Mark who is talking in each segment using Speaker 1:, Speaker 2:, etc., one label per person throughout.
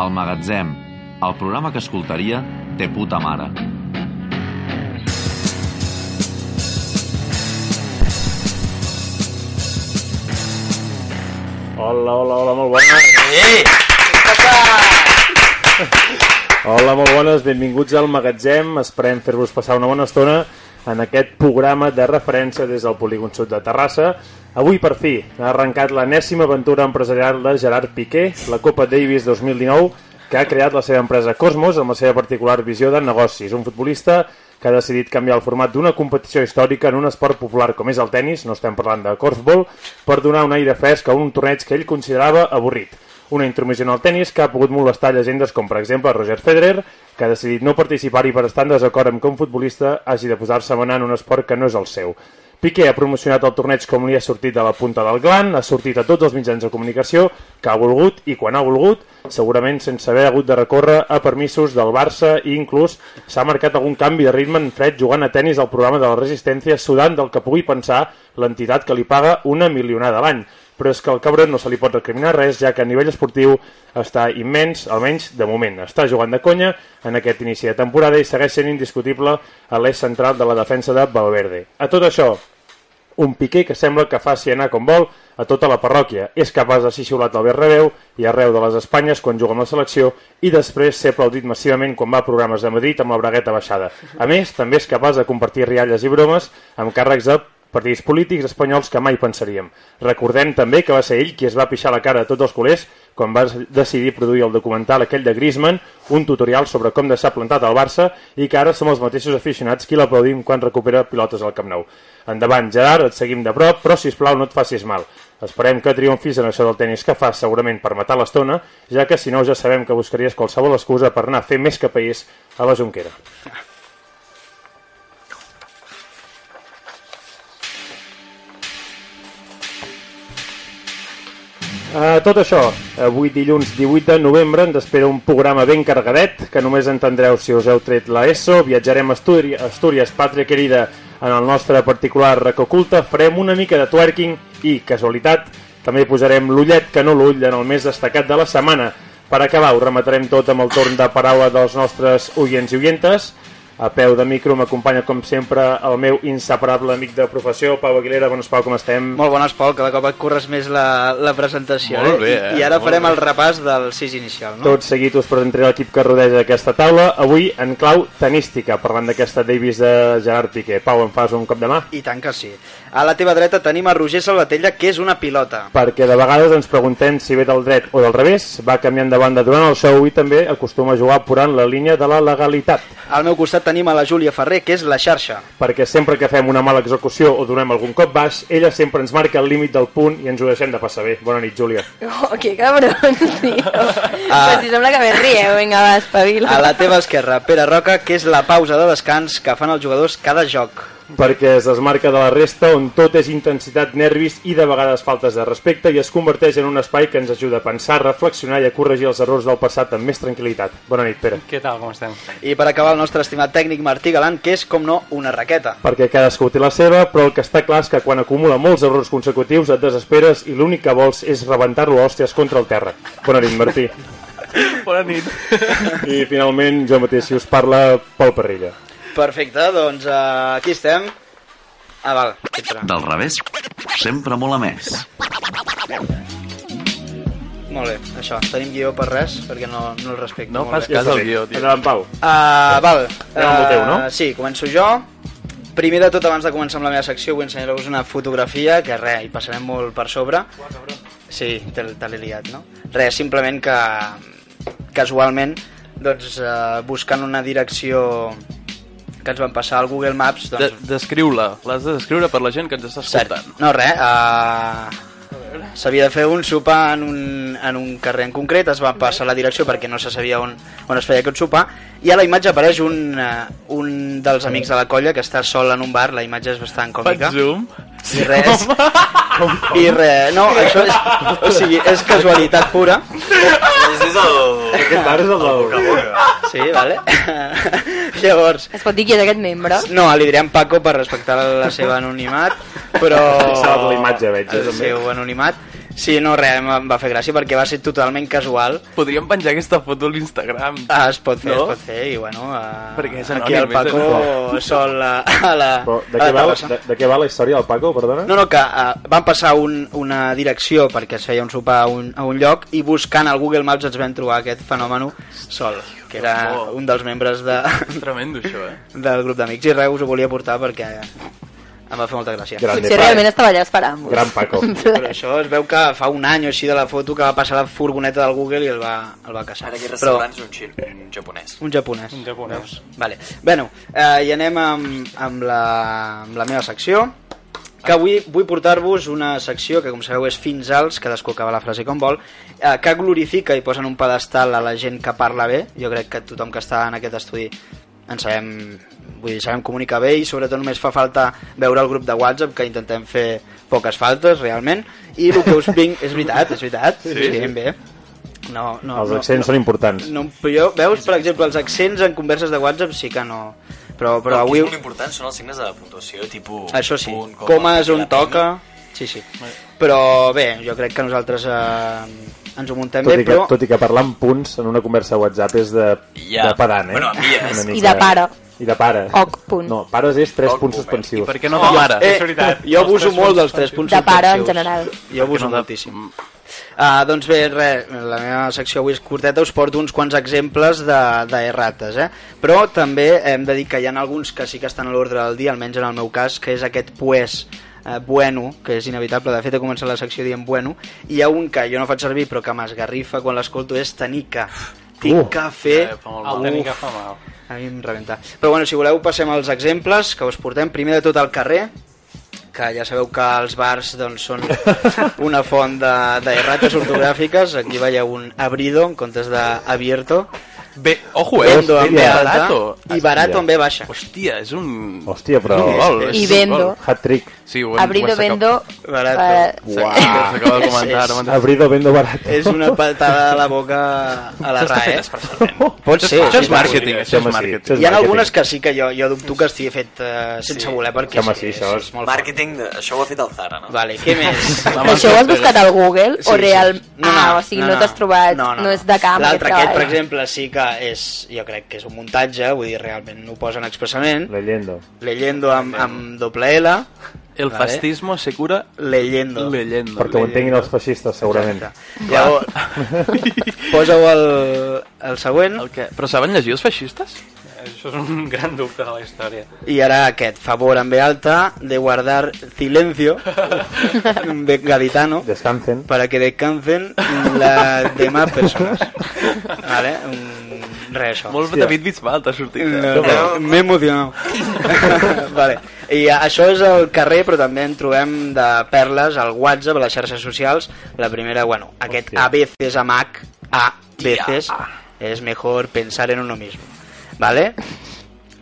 Speaker 1: El magatzem, el programa que escoltaria Te puta mare.
Speaker 2: Hola, hola, hola, molt bones. Hola, molt bones, benvinguts al magatzem. Esperem fer-vos passar una bona estona en aquest programa de referència des del Polígon Sud de Terrassa. Avui, per fi, ha arrencat l'enèsima aventura empresarial de Gerard Piqué, la Copa Davis 2019, que ha creat la seva empresa Cosmos amb la seva particular visió de negocis. Un futbolista que ha decidit canviar el format d'una competició històrica en un esport popular com és el tennis, no estem parlant de corfball, per donar un aire fresc a un torneig que ell considerava avorrit. Una intromissió en el tennis que ha pogut molestar llegendes com, per exemple, Roger Federer, que ha decidit no participar-hi per estar en desacord amb que un futbolista hagi de posar-se a manar en un esport que no és el seu. Piqué ha promocionat el torneig com li ha sortit de la punta del glan, ha sortit a tots els mitjans de comunicació que ha volgut i quan ha volgut, segurament sense haver hagut de recórrer a permisos del Barça i inclús s'ha marcat algun canvi de ritme en fred jugant a tennis al programa de la resistència sudant del que pugui pensar l'entitat que li paga una milionada a l'any. Però és que al cabron no se li pot recriminar res, ja que a nivell esportiu està immens, almenys de moment. Està jugant de conya en aquest inici de temporada i segueix sent indiscutible a l'eix central de la defensa de Valverde. A tot això, un Piqué que sembla que faci anar com vol a tota la parròquia. És capaç de ser xiulat al Bernabéu i arreu de les Espanyes quan juga amb la selecció i després ser aplaudit massivament quan va a programes de Madrid amb la bragueta baixada. A més, també és capaç de compartir rialles i bromes amb càrrecs de partits polítics espanyols que mai pensaríem. Recordem també que va ser ell qui es va pixar la cara a tots els culers quan va decidir produir el documental aquell de Griezmann, un tutorial sobre com deixar plantat al Barça i que ara som els mateixos aficionats qui l'aplaudim quan recupera pilotes al Camp Nou. Endavant, Gerard, et seguim de prop, però si plau no et facis mal. Esperem que triomfis en això del tennis que fas segurament per matar l'estona, ja que si no ja sabem que buscaries qualsevol excusa per anar a fer més que país a la Junquera. Uh, tot això, avui dilluns 18 de novembre ens espera un programa ben cargadet que només entendreu si us heu tret la ESO, viatjarem a Astúries, Astúries pàtria querida, en el nostre particular recoculta, farem una mica de twerking i, casualitat, també posarem l'ullet que no l'ull en el més destacat de la setmana. Per acabar, ho rematarem tot amb el torn de paraula dels nostres oients i oientes. A peu de micro m'acompanya, com sempre, el meu inseparable amic de professió, Pau Aguilera. Bones, Pau, com estem?
Speaker 3: Molt bones, Pol, cada cop et corres més la, la presentació.
Speaker 4: Molt bé,
Speaker 3: I-
Speaker 4: eh?
Speaker 3: I ara
Speaker 4: Molt
Speaker 3: farem
Speaker 4: bé.
Speaker 3: el repàs del 6 inicial, no?
Speaker 2: Tot seguit us presentaré l'equip que rodeja aquesta taula, avui en clau tenística, parlant d'aquesta Davis de Gerard Piqué. Pau, em fas un cop de mà?
Speaker 3: I tant que sí. A la teva dreta tenim a Roger Salvatella, que és una pilota.
Speaker 2: Perquè de vegades ens preguntem si ve del dret o del revés, va canviant de banda durant el show i també acostuma a jugar apurant la línia de la legalitat.
Speaker 3: Al meu costat tenim a la Júlia Ferrer, que és la xarxa.
Speaker 2: Perquè sempre que fem una mala execució o donem algun cop baix, ella sempre ens marca el límit del punt i ens ho deixem de passar bé. Bona nit, Júlia.
Speaker 5: Oh, qué cabrón, tío.
Speaker 3: Ah.
Speaker 5: Pues si sembla que me ríe, venga, va, espabila.
Speaker 3: A la teva esquerra, Pere Roca, que és la pausa de descans que fan els jugadors cada joc.
Speaker 2: perquè es desmarca de la resta on tot és intensitat, nervis i de vegades faltes de respecte i es converteix en un espai que ens ajuda a pensar, reflexionar i a corregir els errors del passat amb més tranquil·litat. Bona nit, Pere.
Speaker 6: Què tal, com estem?
Speaker 3: I per acabar, el nostre estimat tècnic Martí Galant, que és, com no, una raqueta.
Speaker 2: Perquè cadascú té la seva, però el que està clar és que quan acumula molts errors consecutius et desesperes i l'únic que vols és rebentar-lo a hòsties contra el terra. Bona nit, Martí.
Speaker 6: Bona nit.
Speaker 2: I finalment, jo mateix, si us parla, Pol Parrilla.
Speaker 3: Perfecte, doncs uh, aquí estem. Ah, val. Entra.
Speaker 1: Del revés, sempre mola més.
Speaker 3: Molt bé, això. Tenim guió per res, perquè no, no el respecto.
Speaker 4: No
Speaker 3: Molt
Speaker 4: fas
Speaker 3: bé.
Speaker 4: cas
Speaker 2: està
Speaker 4: al
Speaker 2: bé.
Speaker 4: guió, tio.
Speaker 2: Endavant, Pau.
Speaker 3: Uh, val.
Speaker 2: Anem amb el teu, no?
Speaker 3: Eh, Sí, començo jo. Primer de tot, abans de començar amb la meva secció, vull ensenyar-vos una fotografia, que res, hi passarem molt per sobre. Sí, te, te l'he liat, no? Res, simplement que casualment, doncs, uh, buscant una direcció que ens van passar al Google Maps,
Speaker 4: De
Speaker 3: doncs...
Speaker 4: Descriu-la, l'has de descriure per la gent que ens està escoltant.
Speaker 3: No, res, uh, s'havia de fer un sopar en un, en un carrer en concret, es va passar la direcció perquè no se sabia on, on es feia aquest sopar, i a la imatge apareix un, uh, un dels amics de la colla que està sol en un bar, la imatge és bastant
Speaker 4: Faig
Speaker 3: còmica.
Speaker 4: zoom.
Speaker 3: I res. I res. No, això és, o sigui, és casualitat pura.
Speaker 2: Aquest bar és el del...
Speaker 3: Sí, vale? Llavors,
Speaker 5: Es pot dir qui és aquest membre?
Speaker 3: no, li direm Paco per respectar la seva anonimat, però...
Speaker 2: S'ha la imatge, veig, eh,
Speaker 3: El
Speaker 2: també.
Speaker 3: seu anonimat. Sí, no, res, em va- em va fer gràcia perquè va ser totalment casual.
Speaker 4: Podríem penjar aquesta foto a l'Instagram.
Speaker 3: Ah, es pot fer,
Speaker 4: No?
Speaker 3: es pot fer, i bueno... Uh,
Speaker 4: Perquè és
Speaker 3: aquí el
Speaker 4: anònim, és
Speaker 3: Paco sol a, a la...
Speaker 2: Però
Speaker 3: a
Speaker 2: de, què
Speaker 3: la
Speaker 2: va,
Speaker 3: terrassa.
Speaker 2: Ah, de, de què va la història del Paco, perdona?
Speaker 3: No, no, que uh, van passar un, una direcció perquè es feia un sopar a un, a un lloc i buscant al Google Maps ens vam trobar aquest fenomen sol, que era un dels membres de,
Speaker 4: És tremendo, això, eh?
Speaker 3: del grup d'amics i res, us ho volia portar perquè em va fer molta gràcia.
Speaker 2: Grande,
Speaker 5: Potser
Speaker 2: Paco.
Speaker 5: realment estava allà esperant-vos.
Speaker 2: Gran Paco.
Speaker 5: En plan,
Speaker 3: Però això es veu que fa un any o així de la foto que va passar la furgoneta del Google i el va, el va caçar.
Speaker 7: Ara aquest
Speaker 3: Però
Speaker 7: restaurant és un, xil, un japonès.
Speaker 3: un japonès.
Speaker 6: Un japonès.
Speaker 3: Vale. Bueno, eh, i anem amb, amb, la, amb la meva secció que avui vull portar-vos una secció que, com sabeu, és fins als, cadascú acaba la frase com vol, eh, que glorifica i posa en un pedestal a la gent que parla bé. Jo crec que tothom que està en aquest estudi en sabem, vull dir, sabem comunicar bé i sobretot només fa falta veure el grup de WhatsApp que intentem fer poques faltes realment i el que us vinc és veritat, és veritat, sí, sí. bé. No, no,
Speaker 2: Els
Speaker 3: no,
Speaker 2: accents
Speaker 3: no,
Speaker 2: són importants.
Speaker 3: no, jo, veus, per exemple, els accents en converses de WhatsApp sí que no... Però, però
Speaker 7: el
Speaker 3: avui...
Speaker 7: que és molt important són els signes de la puntuació, tipus...
Speaker 3: Això sí,
Speaker 7: punt, coma,
Speaker 3: comes on
Speaker 7: tirapenya.
Speaker 3: toca... Sí, sí. Però bé, jo crec que nosaltres eh, ens ho muntem
Speaker 2: Tot
Speaker 3: bé,
Speaker 2: i, que,
Speaker 3: però...
Speaker 2: tot i que parlar en punts en una conversa de WhatsApp és de,
Speaker 7: Ja.
Speaker 2: de pedant, eh?
Speaker 7: Bueno, envies.
Speaker 2: Una
Speaker 5: I
Speaker 2: mica.
Speaker 5: de pare.
Speaker 2: I de pare.
Speaker 5: Oc, punt.
Speaker 2: No, pares és tres
Speaker 7: Oc,
Speaker 2: punts
Speaker 7: punt, eh?
Speaker 2: suspensius.
Speaker 6: I per què no de mare?
Speaker 3: Eh,
Speaker 6: és veritat.
Speaker 3: Jo abuso molt dels tres punts
Speaker 5: De pare, en
Speaker 3: suspensius.
Speaker 5: general.
Speaker 3: Jo abuso
Speaker 4: no de-
Speaker 3: moltíssim. Ah, doncs bé, res, la meva secció avui és curteta, us porto uns quants exemples de, de errates, eh? Però també hem de dir que hi ha alguns que sí que estan a l'ordre del dia, almenys en el meu cas, que és aquest pues eh, bueno, que és inevitable, de fet he començat la secció dient bueno, i hi ha un que jo no faig servir però que m'esgarrifa quan l'escolto és tanica. Tinc
Speaker 2: Uh.
Speaker 3: que fer...
Speaker 4: Ja, fa molt
Speaker 6: El
Speaker 3: Uf,
Speaker 6: tenir que fa mal.
Speaker 3: a mi em rebenta. Però bueno, si voleu passem als exemples que us portem. Primer de tot al carrer, que ja sabeu que els bars doncs, són una font de, de errates ortogràfiques. Aquí veieu un abrido en comptes d'abierto. E
Speaker 4: Bé, ojo, eh?
Speaker 2: Vendo amb
Speaker 4: Vendo
Speaker 2: B
Speaker 4: barato.
Speaker 3: I barato en B baixa.
Speaker 4: Hòstia, és un...
Speaker 2: Hòstia, però-
Speaker 4: És un gol, és
Speaker 5: I
Speaker 4: un
Speaker 5: vendo.
Speaker 4: gol.
Speaker 2: Hat-trick.
Speaker 4: Sí, ho hem,
Speaker 5: Abrido, vendo...
Speaker 3: Barato.
Speaker 5: eh,
Speaker 4: Uau. S'acaba de comentar ara mateix.
Speaker 2: Abrido vendo barato.
Speaker 3: És una patada a la boca a la
Speaker 7: S'està
Speaker 3: RAE.
Speaker 7: fent expressament.
Speaker 3: Pot ser.
Speaker 4: Això és
Speaker 3: sí,
Speaker 4: màrqueting,
Speaker 2: sí,
Speaker 4: això és
Speaker 2: home, sí.
Speaker 4: màrqueting.
Speaker 3: Hi ha algunes que sí que jo, jo dubto que estigui fet eh, sense voler, perquè
Speaker 2: Home,
Speaker 3: és,
Speaker 2: sí,
Speaker 3: que
Speaker 2: això
Speaker 3: és,
Speaker 2: és
Speaker 3: molt fort.
Speaker 7: Màrqueting, de- això ho ha fet el Zara, no?
Speaker 3: Vale, què més?
Speaker 5: Però això ho has buscat al Google
Speaker 3: Sí,
Speaker 5: o
Speaker 3: sí.
Speaker 5: real... ah, o sigui, no, t'has trobat, no, és de camp.
Speaker 3: L'altre aquest, per
Speaker 5: aquest treball.
Speaker 3: exemple, sí que és, jo crec que és un muntatge, vull dir, realment no ho posen expressament.
Speaker 2: Leyendo.
Speaker 3: Leyendo amb, amb doble L,
Speaker 4: El
Speaker 3: Vale.
Speaker 4: fascismo se cura
Speaker 3: leyendo.
Speaker 4: leyendo.
Speaker 2: Perquè ho entenguin els feixistes, segurament.
Speaker 3: Llavors, posa-ho al, al següent.
Speaker 4: El que... Però saben llegir els feixistes?
Speaker 6: Això és un gran dubte de la història.
Speaker 3: I ara aquest, favor en B alta, de guardar silencio, de gaditano,
Speaker 2: Descansen.
Speaker 3: para que descansen las demás personas. Vale? Un, res, això.
Speaker 4: Molt David Bisbal t'ha sortit. eh?
Speaker 3: No, no, M'he emocionat. vale. I eh, això és el carrer, però també en trobem de perles al WhatsApp, a les xarxes socials. La primera, bueno, aquest
Speaker 2: Hòstia.
Speaker 3: a veces a Mac, a
Speaker 7: Tia,
Speaker 3: veces,
Speaker 7: ah.
Speaker 3: es mejor pensar en uno mismo. Vale?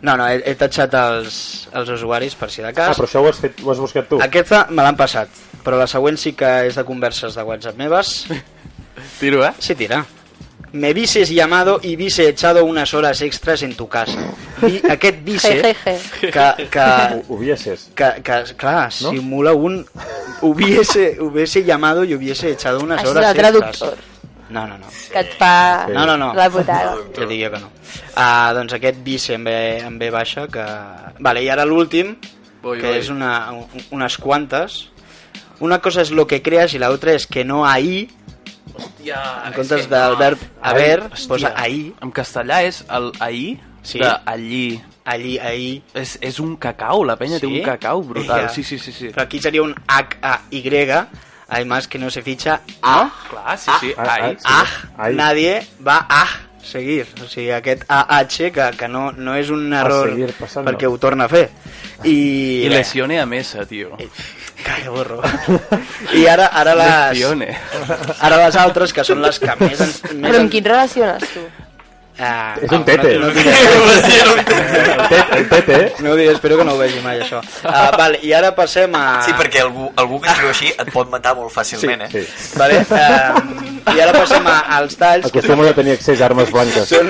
Speaker 3: No, no, he, he tatxat els, els usuaris per si de
Speaker 2: Ah,
Speaker 3: cas.
Speaker 2: però això ho has, fet, ho has buscat tu.
Speaker 3: Aquesta me l'han passat, però la següent sí que és de converses de WhatsApp meves.
Speaker 4: Tiro, eh?
Speaker 3: Sí, tira. Me vises llamado y vise echado unas horas extras en tu casa. I aquest vise
Speaker 5: Je, je,
Speaker 3: que, que,
Speaker 2: Ho, ho vieses.
Speaker 3: que, que clar,
Speaker 2: No?
Speaker 3: simula un... Hubiese, hubiese llamado y hubiese echado unas
Speaker 5: Això és
Speaker 3: horas
Speaker 5: el
Speaker 3: extras.
Speaker 5: traductor.
Speaker 3: No, no, no.
Speaker 5: Que et fa
Speaker 2: Sí.
Speaker 3: No, no, no.
Speaker 5: la putada.
Speaker 3: Ja dic jo que no. Ah, doncs aquest vice en ve, en ve baixa que... Vale, i ara l'últim,
Speaker 4: Oi,
Speaker 3: que
Speaker 4: oi.
Speaker 3: és una, un- unes quantes. Una cosa és lo que creas i l'altra és que no ahí,
Speaker 4: Hòstia,
Speaker 3: en comptes del verb haver, posa ahí.
Speaker 4: En castellà és el ahir
Speaker 3: Sí.
Speaker 4: de allí.
Speaker 3: Allí, ahí.
Speaker 4: És, és un cacau, la penya té
Speaker 3: Sí?
Speaker 4: un cacau brutal.
Speaker 3: Ja.
Speaker 4: Sí, sí, sí. sí.
Speaker 3: Però aquí seria un H-A-Y, además que no se ficha A.
Speaker 4: Clar, sí, sí.
Speaker 2: Ah,
Speaker 4: ahí.
Speaker 2: ah,
Speaker 3: Ah,
Speaker 2: Ahí.
Speaker 3: nadie va a seguir. O sigui, aquest AH que, que no, no és un error
Speaker 2: seguir Ah. passant,
Speaker 3: perquè
Speaker 2: no.
Speaker 3: ho torna a fer. I...
Speaker 4: I lesione a mesa, tio.
Speaker 3: Que borro. I ara, ara les...
Speaker 4: Lesione.
Speaker 3: Ara les altres, que són les que més ens... Més
Speaker 5: Però amb
Speaker 3: ens-
Speaker 5: qui et relaciones, tu?
Speaker 3: Ah,
Speaker 2: És
Speaker 3: ah,
Speaker 2: un
Speaker 3: bueno,
Speaker 2: tete.
Speaker 3: No, tinc-
Speaker 2: El tete, el eh? Tete.
Speaker 3: No ho diré, espero que no ho vegi mai, això. Uh, val, I ara passem a...
Speaker 7: Sí, perquè algú, algú que escriu així et pot matar molt fàcilment,
Speaker 2: Sí.
Speaker 7: eh?
Speaker 3: Vale, uh, I ara passem a, als talls, que
Speaker 2: Acostumes a tenir accés a armes blanques.
Speaker 3: són...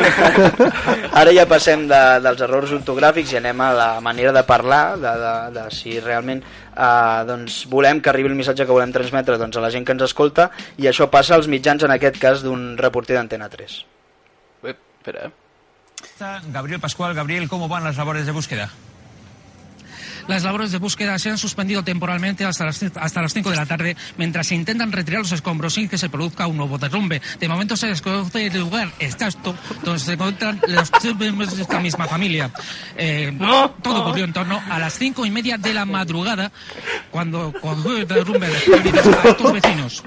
Speaker 3: Ara ja passem de, dels errors ortogràfics i anem a la manera de parlar, de, de, de si realment eh, doncs volem que arribi el missatge que volem transmetre doncs, a la gent que ens escolta i això passa als mitjans, en aquest cas, d'un reporter d'Antena 3.
Speaker 4: Ep, espera, eh?
Speaker 8: Gabriel Pascual, Gabriel, ¿cómo van las labores de búsqueda?
Speaker 9: Las labores de búsqueda se han suspendido temporalmente hasta las, hasta las 5 de la tarde mientras se intentan retirar los escombros sin que se produzca un nuevo derrumbe. De momento se desconoce el lugar exacto donde se encuentran los tres miembros de esta misma familia. Eh, todo ocurrió en torno a las cinco y media de la madrugada cuando cuando el derrumbe de a estos vecinos.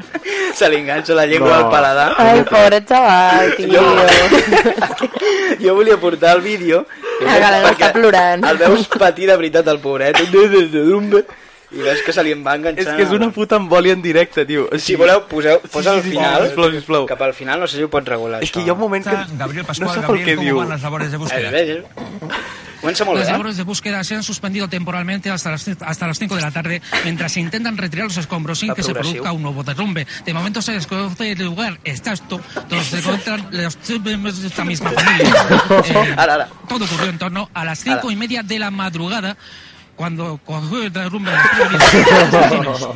Speaker 3: Se li enganxa la llengua
Speaker 2: No.
Speaker 3: al paladar.
Speaker 5: Ai, pobre xaval, tio.
Speaker 3: Jo volia portar el vídeo
Speaker 5: La Galena
Speaker 3: perquè
Speaker 5: està plorant.
Speaker 3: El veus patir de veritat el pobret i veus que se li en va enganxant
Speaker 4: És que és una puta embòlia en directe, tio. O
Speaker 3: Si
Speaker 4: sigui,
Speaker 3: voleu, poseu, posa al
Speaker 4: sí, sí,
Speaker 3: final
Speaker 4: sisplau, sisplau.
Speaker 3: Cap al final, no sé si ho pots regular
Speaker 4: és
Speaker 3: això.
Speaker 4: que hi ha un moment que
Speaker 8: Gabriel
Speaker 4: no
Speaker 8: Pascual,
Speaker 4: sap el que
Speaker 8: Gabriel, ¿cómo
Speaker 4: diu.
Speaker 8: van las labores de
Speaker 3: Eh,
Speaker 8: búsqueda?
Speaker 3: bé, bé. Comença molt
Speaker 9: Las
Speaker 3: bé, eh?
Speaker 9: labores de búsqueda se han suspendido temporalmente hasta las, hasta las 5 de la tarde mientras se intentan retirar los escombros sin
Speaker 3: Está
Speaker 9: que se
Speaker 3: progresivo.
Speaker 9: produzca un nuevo derrumbe. De momento se desconoce el lugar exacto donde se encuentran los tres miembros de esta misma familia. Eh,
Speaker 3: Ara, ara.
Speaker 9: todo ocurrió en torno a las cinco
Speaker 3: Nada.
Speaker 9: y media de la madrugada cuando cuando el derrumbe de los vecinos.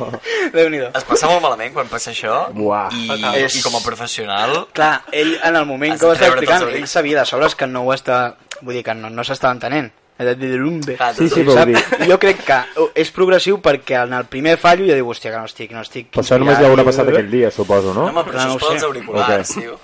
Speaker 3: Déu-n'hi-do.
Speaker 7: Es passa molt malament quan passa això
Speaker 2: Buah.
Speaker 7: i,
Speaker 3: És-
Speaker 7: i com a professional
Speaker 3: Clar, ell en el moment
Speaker 7: Has
Speaker 3: que ho
Speaker 7: de
Speaker 3: estava
Speaker 7: treure tots
Speaker 3: explicant,
Speaker 7: els
Speaker 3: ell
Speaker 7: dits.
Speaker 3: sabia de sobres que no ho estava... Vull dir que no, no s'estava entenent. Ha de dir lumbe.
Speaker 7: Clar,
Speaker 2: Sí, sí,
Speaker 7: doncs,
Speaker 2: però
Speaker 3: Sap?
Speaker 2: vull dir...
Speaker 3: Jo crec que és progressiu perquè en el primer fallo jo diu, hòstia, que no estic, no estic...
Speaker 2: Però això només li haurà passat aquell dia, suposo,
Speaker 7: No,
Speaker 2: no?
Speaker 7: home, però això
Speaker 3: no
Speaker 7: és per
Speaker 3: ho
Speaker 7: als
Speaker 3: sé.
Speaker 7: auriculars,
Speaker 2: Ok.
Speaker 7: tio.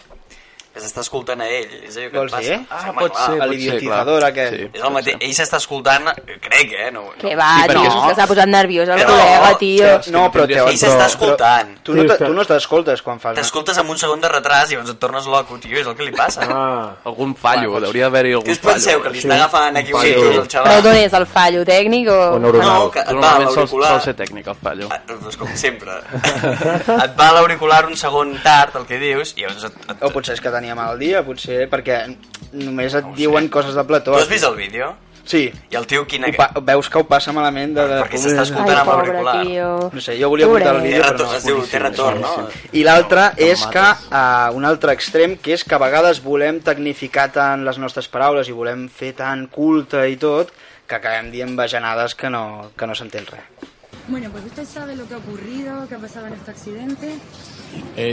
Speaker 7: Que s'està escoltant a ell, és allò que
Speaker 3: Vols
Speaker 7: et passa.
Speaker 3: dir?
Speaker 7: És
Speaker 4: Ah,
Speaker 7: el
Speaker 4: pot
Speaker 7: manual.
Speaker 4: ser, pot ser, clar.
Speaker 3: L'idiotificador aquest.
Speaker 4: Sí.
Speaker 7: És el mateix. Ell s'està escoltant, crec, eh? No, no.
Speaker 5: Que va,
Speaker 4: Sí, perquè
Speaker 5: tio,
Speaker 4: és-
Speaker 5: és que s'ha posat nerviós el
Speaker 7: No,
Speaker 5: col·lega, tio.
Speaker 3: Però- No, però
Speaker 4: tindria
Speaker 3: teo,
Speaker 7: Ell s'està escoltant.
Speaker 3: Tu no,
Speaker 2: Sí,
Speaker 3: te-
Speaker 2: està-
Speaker 3: tu no t'escoltes quan fas...
Speaker 7: T'escoltes amb un segon de retras i llavors et tornes loco, tio, és el que li passa.
Speaker 2: Ah,
Speaker 4: Algun fallo, hauria d'haver-hi
Speaker 7: Què
Speaker 4: algun
Speaker 7: us penseu, que li està agafant aquí un
Speaker 2: Sí.
Speaker 7: tio al
Speaker 5: Però
Speaker 7: xaval?
Speaker 5: d'on és el fallo, tècnic o...?
Speaker 2: o
Speaker 7: No,
Speaker 2: neuronal.
Speaker 7: que et va a
Speaker 4: Normalment sol,
Speaker 7: l'auricular.
Speaker 4: sol ser tècnic el fallo.
Speaker 7: Ah, Doncs com sempre. et va a l'auricular un segon tard, el que dius, i llavors et... et...
Speaker 3: O potser és que tenia mal dia, potser perquè només et
Speaker 7: ho sé.
Speaker 3: diuen coses de plató.
Speaker 7: Tu has vist el vídeo?
Speaker 3: Sí.
Speaker 7: I el tio quina...
Speaker 3: Ho pa veus que ho passa malament de... de...
Speaker 7: Perquè s'està
Speaker 5: Ai,
Speaker 7: escoltant amb
Speaker 5: pobre,
Speaker 7: auricular.
Speaker 5: tio.
Speaker 3: No sé, jo volia portar el
Speaker 5: Pobret.
Speaker 7: Té
Speaker 3: vídeo, però
Speaker 7: retorn,
Speaker 3: no.
Speaker 7: es diu, té retorn, no?
Speaker 3: I l'altre és que, uh, un altre extrem, que és que a vegades volem tecnificar tant les nostres paraules i volem fer tan culte i tot, que acabem dient bajanades que no, que no s'entén res.
Speaker 10: Bueno, pues usted sabe lo que ha ocurrido, que ha pasado en este accidente.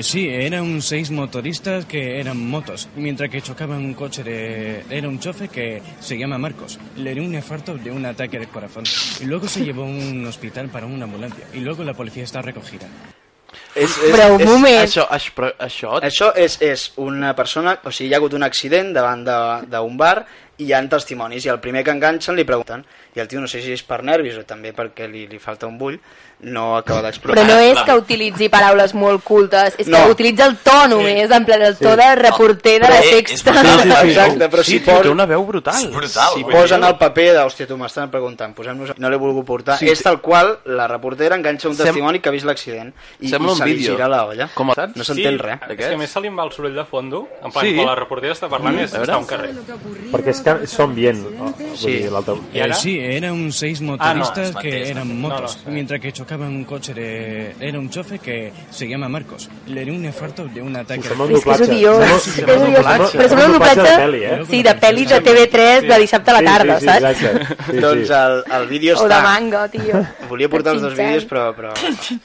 Speaker 8: sí, eran seis motoristas que eran motos, mientras que chocaban un coche de... Era un chofe que se llama Marcos. Le dio un infarto de un ataque de corazón. Y luego se llevó a un hospital para una ambulancia. Y luego la policía está recogida.
Speaker 3: És,
Speaker 5: Però un moment.
Speaker 4: Això, això, però això...
Speaker 3: Això és, és una persona... O sigui, hi ha hagut un accident davant de- d'un bar i hi ha testimonis, i el primer que enganxen li pregunten, i el tio no sé si és per nervis o també perquè li, li falta un bull, no acaba d'explicar.
Speaker 5: Però no és que utilitzi paraules molt cultes, és que
Speaker 3: No.
Speaker 5: utilitza el to només, en plan el to de reporter de
Speaker 7: Però
Speaker 5: la
Speaker 7: és-
Speaker 5: sexta.
Speaker 7: és
Speaker 3: sí, sí. Exacte, però si
Speaker 4: sí, tio,
Speaker 3: pos-
Speaker 4: té una veu brutal.
Speaker 7: És brutal.
Speaker 4: Sí,
Speaker 7: Si
Speaker 4: vull dir-
Speaker 3: posa en el paper de, hòstia, tu m'estan preguntant, posem-nos... No l'he volgut portar.
Speaker 4: Sí,
Speaker 3: Sí, és
Speaker 4: té-
Speaker 3: tal qual la reportera enganxa un
Speaker 4: Sem-
Speaker 3: testimoni que ha vist l'accident i, i
Speaker 4: Sembla un
Speaker 3: se li
Speaker 4: vídeo.
Speaker 3: gira la olla.
Speaker 4: Com a-
Speaker 3: No s'entén res.
Speaker 6: És que a més se li en va el soroll de fondo, en plan,
Speaker 4: Sí.
Speaker 6: sí. quan la reportera està parlant és
Speaker 4: a veure.
Speaker 6: està a un carrer.
Speaker 10: Lo que ha ocurrido,
Speaker 2: Perquè és que
Speaker 10: ha
Speaker 2: és
Speaker 10: pasado en
Speaker 2: ambient.
Speaker 10: este
Speaker 2: o-
Speaker 10: accidente.
Speaker 2: Vull dir, l'altre...
Speaker 6: I ara?
Speaker 8: sí, eran seis
Speaker 6: Ah,
Speaker 8: motoristas
Speaker 7: no, es
Speaker 8: que
Speaker 7: matiz,
Speaker 8: eran
Speaker 7: matiz.
Speaker 8: motos,
Speaker 6: No, no, sí.
Speaker 8: mientras que chocaban un coche de... Era un chofe que se llama Marcos. Le dio un infarto de un ataque.
Speaker 2: Sembla un
Speaker 5: És que és
Speaker 2: doblatge.
Speaker 5: odiós,
Speaker 2: Sembla-
Speaker 5: és odiós.
Speaker 2: doblatge.
Speaker 5: Però sembla un
Speaker 2: de peli, eh?
Speaker 5: doblatge sí, de pel·lis de TV3 de dissabte a la tarda,
Speaker 2: sí, sí,
Speaker 5: saps?
Speaker 2: Exacte. Sí,
Speaker 3: Doncs
Speaker 2: sí.
Speaker 3: el, el vídeo
Speaker 5: O de
Speaker 3: està...
Speaker 5: manga, tio.
Speaker 3: Volia portar els dos
Speaker 5: Xinxan.
Speaker 3: vídeos, però, però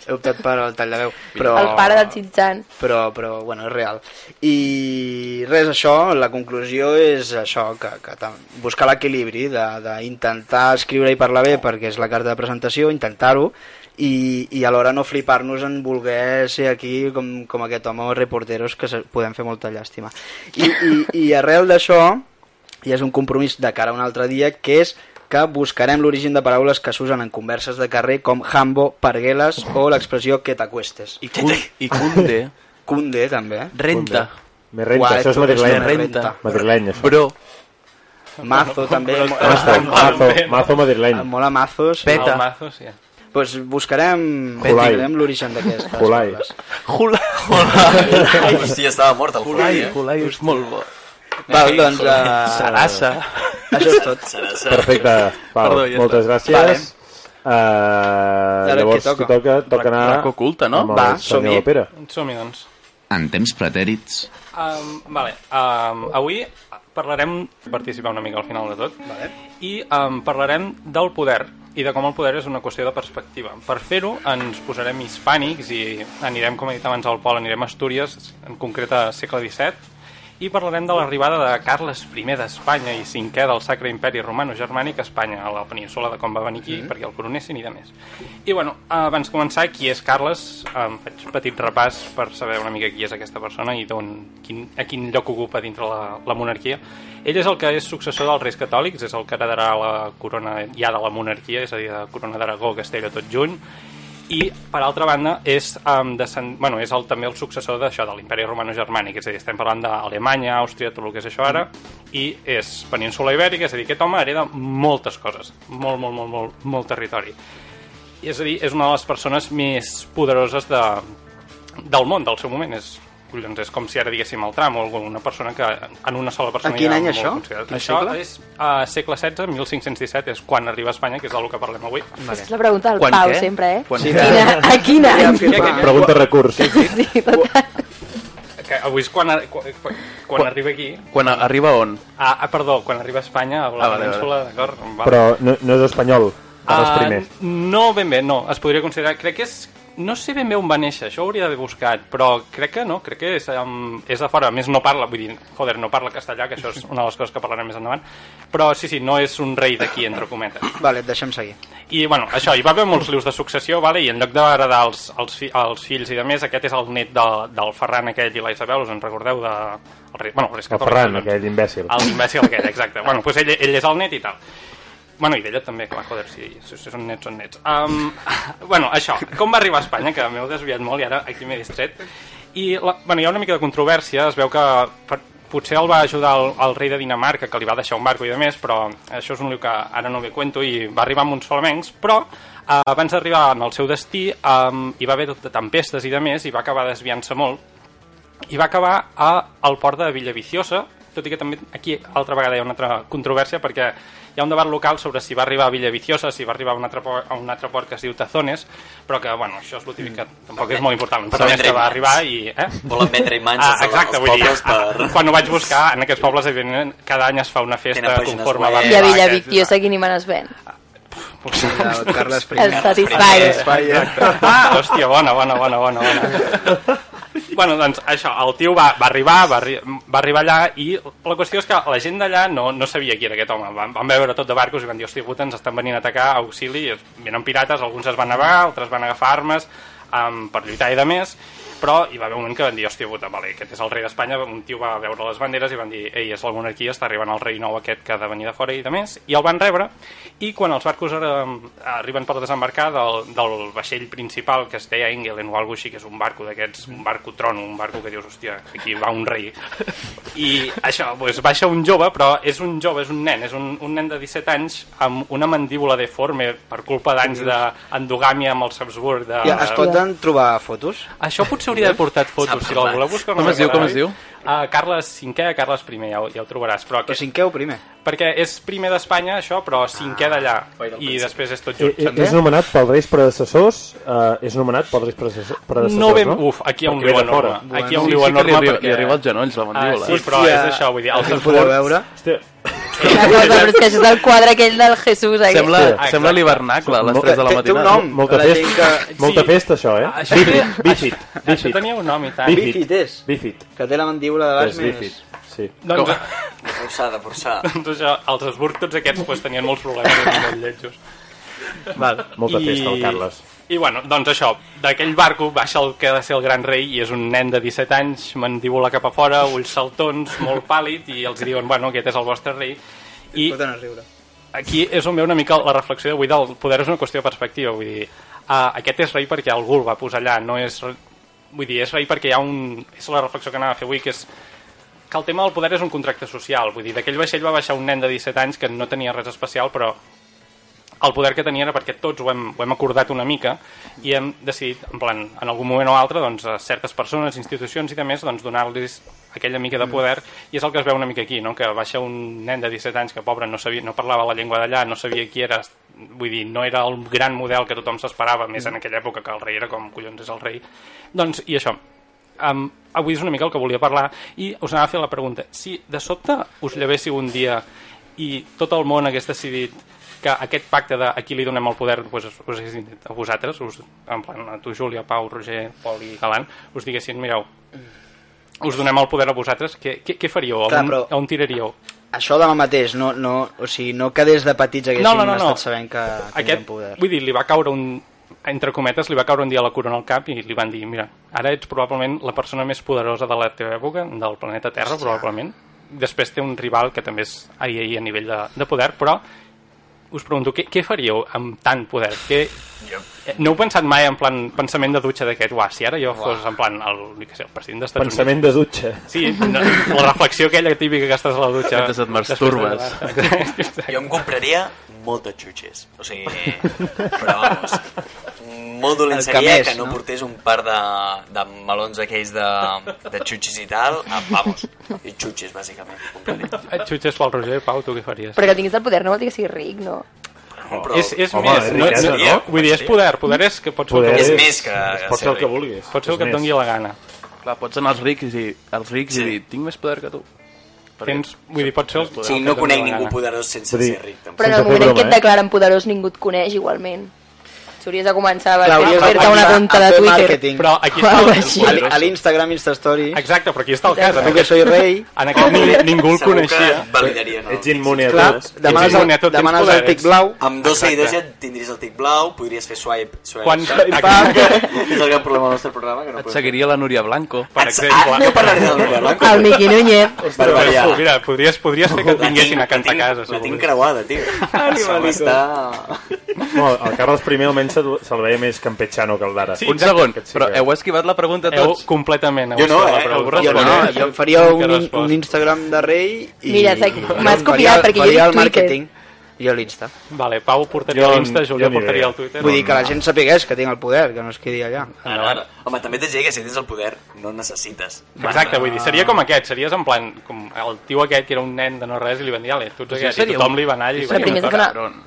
Speaker 3: he optat per el tall de veu. Però...
Speaker 5: El pare del Xinxan.
Speaker 3: però, però, bueno, és real. I res, això, la conclusió és això, que, que tam- buscar l'equilibri d'intentar escriure i parlar bé perquè és la carta de presentació, intentar-ho, i, i alhora no flipar-nos en voler ser aquí com, com aquest home o reporteros que se, podem fer molta llàstima. I, i, i arrel d'això, i és un compromís de cara a un altre dia, que és que buscarem l'origen de paraules que s'usen en converses de carrer com jambo, pargueles o l'expressió que t'acuestes.
Speaker 4: I, cun, I Kunde.
Speaker 3: Cunde, també. eh?
Speaker 4: Renta.
Speaker 2: Me renta,
Speaker 3: Guai,
Speaker 2: això és
Speaker 3: tot
Speaker 2: madrileny.
Speaker 3: una
Speaker 4: Renta.
Speaker 2: Madrileny, això.
Speaker 4: Bro.
Speaker 3: Mazo, també.
Speaker 2: Mazo, mazo, mazo madrileny.
Speaker 3: Em Mola mazos.
Speaker 4: Pet.
Speaker 6: El mazo, sí.
Speaker 3: Pues buscarem,
Speaker 2: Colai.
Speaker 3: buscarem l'origen d'aquestes.
Speaker 2: Colai.
Speaker 3: coses.
Speaker 4: Hulai.
Speaker 7: Hòstia, estava mort el Julai,
Speaker 4: Hulai.
Speaker 7: eh?
Speaker 4: Hulai és molt bo.
Speaker 3: Val, doncs... Uh...
Speaker 4: Sarasa.
Speaker 3: Això és tot.
Speaker 2: Perfecte, Pau.
Speaker 4: Perdó, ja
Speaker 2: Moltes
Speaker 4: està.
Speaker 2: gràcies.
Speaker 4: Vale.
Speaker 2: Uh,
Speaker 3: Ara
Speaker 2: llavors,
Speaker 3: què toca?
Speaker 2: qui toca? Toca anar...
Speaker 4: Racó culte, no?
Speaker 2: amb el
Speaker 4: Va,
Speaker 2: senyor
Speaker 4: som-hi.
Speaker 2: Lopera.
Speaker 6: Som-hi, doncs.
Speaker 7: eh?
Speaker 1: En temps pretèrits,
Speaker 6: Um, vale, um, avui parlarem, participar una mica al final de tot, vale. i um, parlarem del poder i de com el poder és una qüestió de perspectiva. Per fer-ho ens posarem hispànics i anirem, com he dit abans al Pol, anirem a Astúries, en concret a segle XVII, i parlarem de l'arribada de Carles I d'Espanya i cinquè del Sacre Imperi Romano-Germànic a Espanya, a la península de com va venir aquí, mm. perquè el coronessin i de més. I bueno, abans de començar, qui és Carles? Em faig un petit repàs per saber una mica qui és aquesta persona i d'on quin, a quin lloc ocupa dintre la, la monarquia. Ell és el que és successor dels Reis Catòlics, és el que heredarà la corona ja de la monarquia, és a dir, la corona d'Aragó, Castella, tot juny, i per altra banda és, um, descend... bueno, és el, també el successor d'això de l'imperi romano-germànic és a dir, estem parlant d'Alemanya, Àustria, tot el que és això ara i és península ibèrica és a dir, aquest home hereda moltes coses molt, molt, molt, molt, molt territori i és a dir, és una de les persones més poderoses de, del món del seu moment és, collons, és com si ara diguéssim el tram o alguna persona que en una sola persona
Speaker 3: A quin
Speaker 6: hi ha
Speaker 3: any
Speaker 6: molt
Speaker 3: això?
Speaker 6: considerat.
Speaker 3: Quin
Speaker 6: això
Speaker 3: segle?
Speaker 6: és a uh, segle XVI, 1517 és quan arriba a Espanya, que és del que parlem avui
Speaker 5: Aquesta és la pregunta del
Speaker 6: Quan
Speaker 5: Pau,
Speaker 6: què?
Speaker 5: sempre, eh?
Speaker 6: Quan
Speaker 5: Sí,
Speaker 6: què?
Speaker 5: quina, a quin
Speaker 6: Ja,
Speaker 5: any?
Speaker 6: flipa.
Speaker 3: Ah,
Speaker 5: Quan-
Speaker 2: Pregunta recurs.
Speaker 6: que avui és quan, quan, quan, quan arriba aquí
Speaker 4: Quan a- arriba on?
Speaker 6: Ah, ah, perdó, quan arriba a Espanya, a la
Speaker 4: Ah,
Speaker 6: ah,
Speaker 4: vale,
Speaker 6: península,
Speaker 4: vale.
Speaker 6: d'acord? Vale.
Speaker 2: Però no, no és espanyol, ara és primer.
Speaker 6: Ah, no ben bé, no. Es podria considerar... Crec que és... No sé ben bé on va néixer, això ho hauria d'haver buscat, però crec que no, crec que és, um, és de fora. A més, no parla, vull dir, joder, no parla castellà, que això és una de les coses que parlarem més endavant. Però sí, sí, no és un rei d'aquí, entre cometes.
Speaker 3: Vale, et deixem seguir.
Speaker 6: I, bueno, això, hi va haver molts lius de successió, vale? i en lloc d'agradar als, als, fi, als fills i de més, aquest és el net de, del Ferran aquell i la Isabel, us en recordeu de... El, rei- bueno, el,
Speaker 2: El Ferran, aquell imbècil.
Speaker 6: el imbècil aquest, exacte. bueno, doncs ell, ell és el net i tal. Bueno, i d'ella també, clar, joder, si, si, si són nets, són nets. Um, bueno, això, com va arribar a Espanya, que m'heu desviat molt i ara aquí m'he distret. I la, bueno, hi ha una mica de controvèrsia, es veu que per, potser el va ajudar el, el rei de Dinamarca, que li va deixar un barco i de més, però això és un lío que ara no ve cuento i va arribar amb uns solamencs, però eh, abans d'arribar en el seu destí um, hi va haver tot de tempestes i de més i va acabar desviant-se molt i va acabar a, al port de Villaviciosa, tot i que també aquí altra vegada hi ha una altra controvèrsia perquè hi ha un debat local sobre si va arribar a Villaviciosa, si va arribar a un altre, port, a un altre port que es diu Tazones, però que, bueno, això és l'últim que tampoc és molt important. L'important és que va arribar i... Eh?
Speaker 7: Volen vendre imants
Speaker 6: Ah,
Speaker 7: als-
Speaker 6: exacte,
Speaker 7: als
Speaker 6: vull dir, ah,
Speaker 7: pobles per-
Speaker 6: quan ho vaig buscar, en aquests pobles, evidentment, cada any es fa una festa
Speaker 7: Tenen pàgines
Speaker 6: conforme a
Speaker 7: web.
Speaker 6: la...
Speaker 5: I a Villavic, jo sé quin imant es ven.
Speaker 3: El Carles Eh, I.
Speaker 5: El Satisfyer.
Speaker 6: Exacte. Ah, hòstia, bona, bona, bona, bona, bona. Bueno, doncs això, el tio va, va arribar, va, arri va arribar allà i la qüestió és que la gent d'allà no, no sabia qui era aquest home. Van, van veure tot de barcos i van dir, hòstia, puta, ens estan venint a atacar, auxili, es- venen pirates, alguns es van negar, altres van agafar armes um, per lluitar i de més, però hi va haver un moment que van dir, hòstia puta, vale, aquest és el rei d'Espanya, un tio va veure les banderes i van dir, ei, és la monarquia, està arribant el rei nou aquest que ha de venir de fora i de més, i el van rebre, i quan els barcos ara, mm, arriben per desembarcar del, del vaixell principal que es deia Engelen o alguna així, que és un barco d'aquests, un barco trono, un barco que dius, hòstia, aquí va un rei. I això, doncs, baixa un jove, però és un jove, és un nen, és un, un nen de 17 anys amb una mandíbula deforme per culpa
Speaker 4: Mm.
Speaker 6: d'anys d'endogàmia amb els Habsburg. De,
Speaker 3: Ja, es poden trobar fotos?
Speaker 6: Això potser hauria de portar fotos, si la voleu buscar. una
Speaker 4: Com es diu,
Speaker 6: vegada,
Speaker 4: com es diu?
Speaker 6: Uh, Carles V, Carles I, ja ho, ja ho trobaràs. Però,
Speaker 3: Però
Speaker 6: aquest,
Speaker 3: cinquè o primer?
Speaker 6: perquè és primer d'Espanya, això, però cinquè d'allà.
Speaker 4: Ah,
Speaker 6: I després és tot
Speaker 2: I,
Speaker 6: junt.
Speaker 2: i- Eh, és nomenat pels reis predecessors, eh, és nomenat pels reis predecessors, predecessors
Speaker 6: no ben...
Speaker 2: no?
Speaker 6: Uf, aquí hi ha un
Speaker 2: Perquè ve
Speaker 6: liu
Speaker 2: de
Speaker 6: enorme.
Speaker 2: fora.
Speaker 6: Aquí hi ha un
Speaker 4: Sí,
Speaker 6: liu
Speaker 4: sí que li
Speaker 6: enorme
Speaker 4: arriba-
Speaker 6: perquè...
Speaker 4: li arriba als genolls, la mandíbula,
Speaker 6: Ah, sí,
Speaker 4: eh?
Speaker 6: però
Speaker 3: Hòstia,
Speaker 6: és això, vull dir, els
Speaker 3: Ho podeu
Speaker 6: Habsburgs...
Speaker 3: veure?
Speaker 2: Hòstia,
Speaker 5: Una cosa, però és que això és el quadre aquell del Jesús. eh, Aquest.
Speaker 4: Sembla,
Speaker 2: Sí.
Speaker 6: Exacte.
Speaker 4: sembla l'hivernacle a les
Speaker 2: Té-
Speaker 4: 3 de la
Speaker 3: té- té un
Speaker 4: matinada.
Speaker 3: nom.
Speaker 2: molta
Speaker 3: la
Speaker 2: festa,
Speaker 3: gent que-
Speaker 2: molta
Speaker 6: sí.
Speaker 2: festa això, eh?
Speaker 6: Això,
Speaker 2: Bífid, bífid,
Speaker 6: això
Speaker 2: bífid,
Speaker 6: tenia un nom i tant.
Speaker 2: Bífid.
Speaker 3: Bífid és,
Speaker 2: bífid,
Speaker 3: que té la mandíbula de
Speaker 2: és
Speaker 3: baix
Speaker 2: bífid,
Speaker 3: més...
Speaker 2: sí.
Speaker 6: Doncs,
Speaker 7: De forçar, de forçar.
Speaker 6: doncs això, els Habsburg, tots aquests, pues, tenien molts problemes i molt lletjos.
Speaker 3: Val.
Speaker 2: Molta
Speaker 6: I-
Speaker 2: festa, el Carles.
Speaker 6: I bueno, doncs això, d'aquell barco baixa el que ha de ser el gran rei i és un nen de 17 anys, mandíbula cap a fora, ulls saltons, molt pàl·lid i els diuen, bueno, aquest és el vostre rei. I
Speaker 3: Poden riure.
Speaker 6: aquí és on ve una mica la reflexió d'avui del poder és una qüestió de perspectiva, vull dir, uh, aquest és rei perquè algú el va posar allà, no és... re- Vull dir, és rei perquè hi ha un... És la reflexió que anava a fer avui, que és que el tema del poder és un contracte social, vull dir, d'aquell vaixell va baixar un nen de 17 anys que no tenia res especial, però el poder que tenia era perquè tots ho hem, ho hem acordat una mica i hem decidit, en plan, en algun moment o altre, doncs, a certes persones, institucions i demés, doncs, donar-los aquella mica de poder i és el que es veu una mica aquí, no? que baixa un nen de 17 anys que, pobre, no, sabia, no parlava la llengua d'allà, no sabia qui era, vull dir, no era el gran model que tothom s'esperava, més en aquella època que el rei era com, collons, és el rei. Doncs, i això, um, avui és una mica el que volia parlar i us anava a fer la pregunta si de sobte us llevéssiu un dia i tot el món hagués decidit que aquest pacte de a qui li donem el poder pues, us hagués dit a vosaltres us, en plan a tu Júlia, Pau, Roger, Pol i Galant us diguessin, mireu us donem el poder a vosaltres què, què, què faríeu?
Speaker 3: Clar,
Speaker 6: on,
Speaker 3: però-
Speaker 6: on tiraríeu?
Speaker 3: Això demà mateix, no, no, o sigui, no que des de petits haguéssim
Speaker 6: No, no, no, no.
Speaker 3: estat sabent que
Speaker 6: Aquest,
Speaker 3: tindrem poder.
Speaker 6: vull dir, li va caure un entre cometes, li va caure un dia la corona al cap i li van dir, mira, ara ets probablement la persona més poderosa de la teva època, del planeta Terra,
Speaker 3: Hòstia.
Speaker 6: probablement. Després té un rival que també és ahir, ahir a nivell de, de poder, però us pregunto, què, què faríeu amb tant poder? Que, eh, no heu pensat mai en plan pensament de dutxa d'aquest, uah, si ara jo fos en plan el, jo què sé, el president d'Estats
Speaker 2: Pensament
Speaker 6: Units.
Speaker 2: de dutxa.
Speaker 6: Sí, no, la reflexió aquella típica que estàs a la dutxa.
Speaker 4: Mentre et
Speaker 6: després de
Speaker 4: masturbes.
Speaker 6: llevar-te.
Speaker 7: Jo em compraria molt de xutxes. O sigui, però vamos, molt dolent
Speaker 3: El
Speaker 7: seria
Speaker 3: que
Speaker 7: que,
Speaker 3: més,
Speaker 7: no,
Speaker 3: no?
Speaker 7: portés un par de, de melons aquells de, de xutxes i tal. Ah, vamos, i xutxes, bàsicament. Compraria.
Speaker 6: Et Eh, Xutxes pel Roger, Pau, tu què faries?
Speaker 5: Però que tinguis el poder no vol dir que siguis ric, no?
Speaker 7: No, però...
Speaker 6: És, és
Speaker 2: Home,
Speaker 6: més,
Speaker 2: és
Speaker 6: no,
Speaker 2: riquesa,
Speaker 6: no,
Speaker 2: no?
Speaker 6: vull dir, és poder, poder és que pots
Speaker 2: Poder
Speaker 6: fer
Speaker 7: És
Speaker 6: el que,
Speaker 7: més que...
Speaker 2: Pots fer el que vulguis.
Speaker 6: pots fer el
Speaker 2: és
Speaker 6: que et
Speaker 2: més.
Speaker 6: doni la gana.
Speaker 4: Clar, pots anar als rics i dir, als rics sí. i dir, tinc més poder que tu.
Speaker 6: Tens, vull dir, pots fer el poder.
Speaker 7: O sigui,
Speaker 6: el que
Speaker 7: no
Speaker 6: et doni
Speaker 7: conec
Speaker 6: la
Speaker 7: ningú
Speaker 6: gana.
Speaker 7: poderós sense
Speaker 2: Vull dir-
Speaker 7: ser ric, tampoc.
Speaker 5: Però en
Speaker 2: Sense
Speaker 5: el
Speaker 2: fer
Speaker 5: moment en
Speaker 2: broma,
Speaker 5: què et
Speaker 2: eh?
Speaker 5: declaren poderós ningú et coneix igualment. Si hauries de començar a
Speaker 3: Clar, hauries de
Speaker 5: fer-te una
Speaker 3: començar
Speaker 5: compte
Speaker 3: a
Speaker 5: de
Speaker 3: fer
Speaker 5: Twitter.
Speaker 3: màrqueting.
Speaker 6: Però aquí
Speaker 5: Uau,
Speaker 6: està el-
Speaker 5: així.
Speaker 3: A l'I- A l'Instagram, Instastory,
Speaker 6: Exacte, però aquí està el cas.
Speaker 3: tu
Speaker 6: En
Speaker 3: que
Speaker 6: aquest,
Speaker 3: soy rei,
Speaker 6: en aquest ningú, ningú
Speaker 7: Segur
Speaker 6: el
Speaker 7: que
Speaker 6: coneixia.
Speaker 7: et validaria, no?
Speaker 2: Ets immune a
Speaker 3: clar,
Speaker 2: tots.
Speaker 3: demanes,
Speaker 6: Sí, sí, sí.
Speaker 3: el, demanes el tic blau,
Speaker 7: Amb dos seguidors ja tindries el tic blau, podries fer swipe, swipe,
Speaker 6: Quan,
Speaker 7: swipe.
Speaker 6: exacte,
Speaker 7: És el gran problema del nostre programa, que no
Speaker 4: Et
Speaker 7: podem
Speaker 4: seguiria la Núria Blanco.
Speaker 6: per
Speaker 7: Ah, no
Speaker 6: exemple...
Speaker 7: parlaré del eh? Núria Blanco.
Speaker 5: El Miqui Núñez.
Speaker 7: Per variar.
Speaker 6: Però, mira, podries, podries fer que et vinguessin a cantar a casa.
Speaker 7: La tinc
Speaker 6: segur.
Speaker 7: creuada, tio. Està...
Speaker 2: No, el Carles I almenys se'l se'l veia més campechano que el d'ara.
Speaker 6: Sí,
Speaker 4: Un segon,
Speaker 2: Aquest sí
Speaker 4: però
Speaker 2: que-
Speaker 4: heu esquivat la pregunta
Speaker 6: Heu
Speaker 4: tots.
Speaker 6: completament... heu
Speaker 7: Jo no,
Speaker 6: estat la
Speaker 7: eh? Algú
Speaker 3: jo
Speaker 6: pregunta.
Speaker 3: no,
Speaker 7: respon,
Speaker 3: jo em faria
Speaker 6: Que
Speaker 3: un, in-
Speaker 6: respon.
Speaker 3: un Instagram de rei i...
Speaker 5: Mira, sé- m'has
Speaker 3: Faria-
Speaker 5: copiat perquè jo
Speaker 3: faria
Speaker 5: dic
Speaker 3: el
Speaker 5: Twitter.
Speaker 3: màrqueting. Jo l'Insta.
Speaker 6: Vale, Pau portaria
Speaker 2: Jo-
Speaker 6: l'Insta, Julià
Speaker 2: jo ni
Speaker 6: portaria
Speaker 2: idea.
Speaker 6: el Twitter.
Speaker 3: Vull dir que la gent sapigués que tinc el poder, que no es quedi allà.
Speaker 7: Ara, ara. Home, també t'haig de dir que si tens el poder, no necessites.
Speaker 6: Exacte, vull dir, seria com aquest, series en plan, com el tio aquest que era un nen de no res i li van dir, ale, tu ets aquest, i
Speaker 4: seria
Speaker 6: tothom
Speaker 4: un-
Speaker 6: li va anar i li
Speaker 5: Però
Speaker 6: va dir,
Speaker 5: primer
Speaker 6: "Mira,
Speaker 5: has d'anar-
Speaker 4: Cabrón.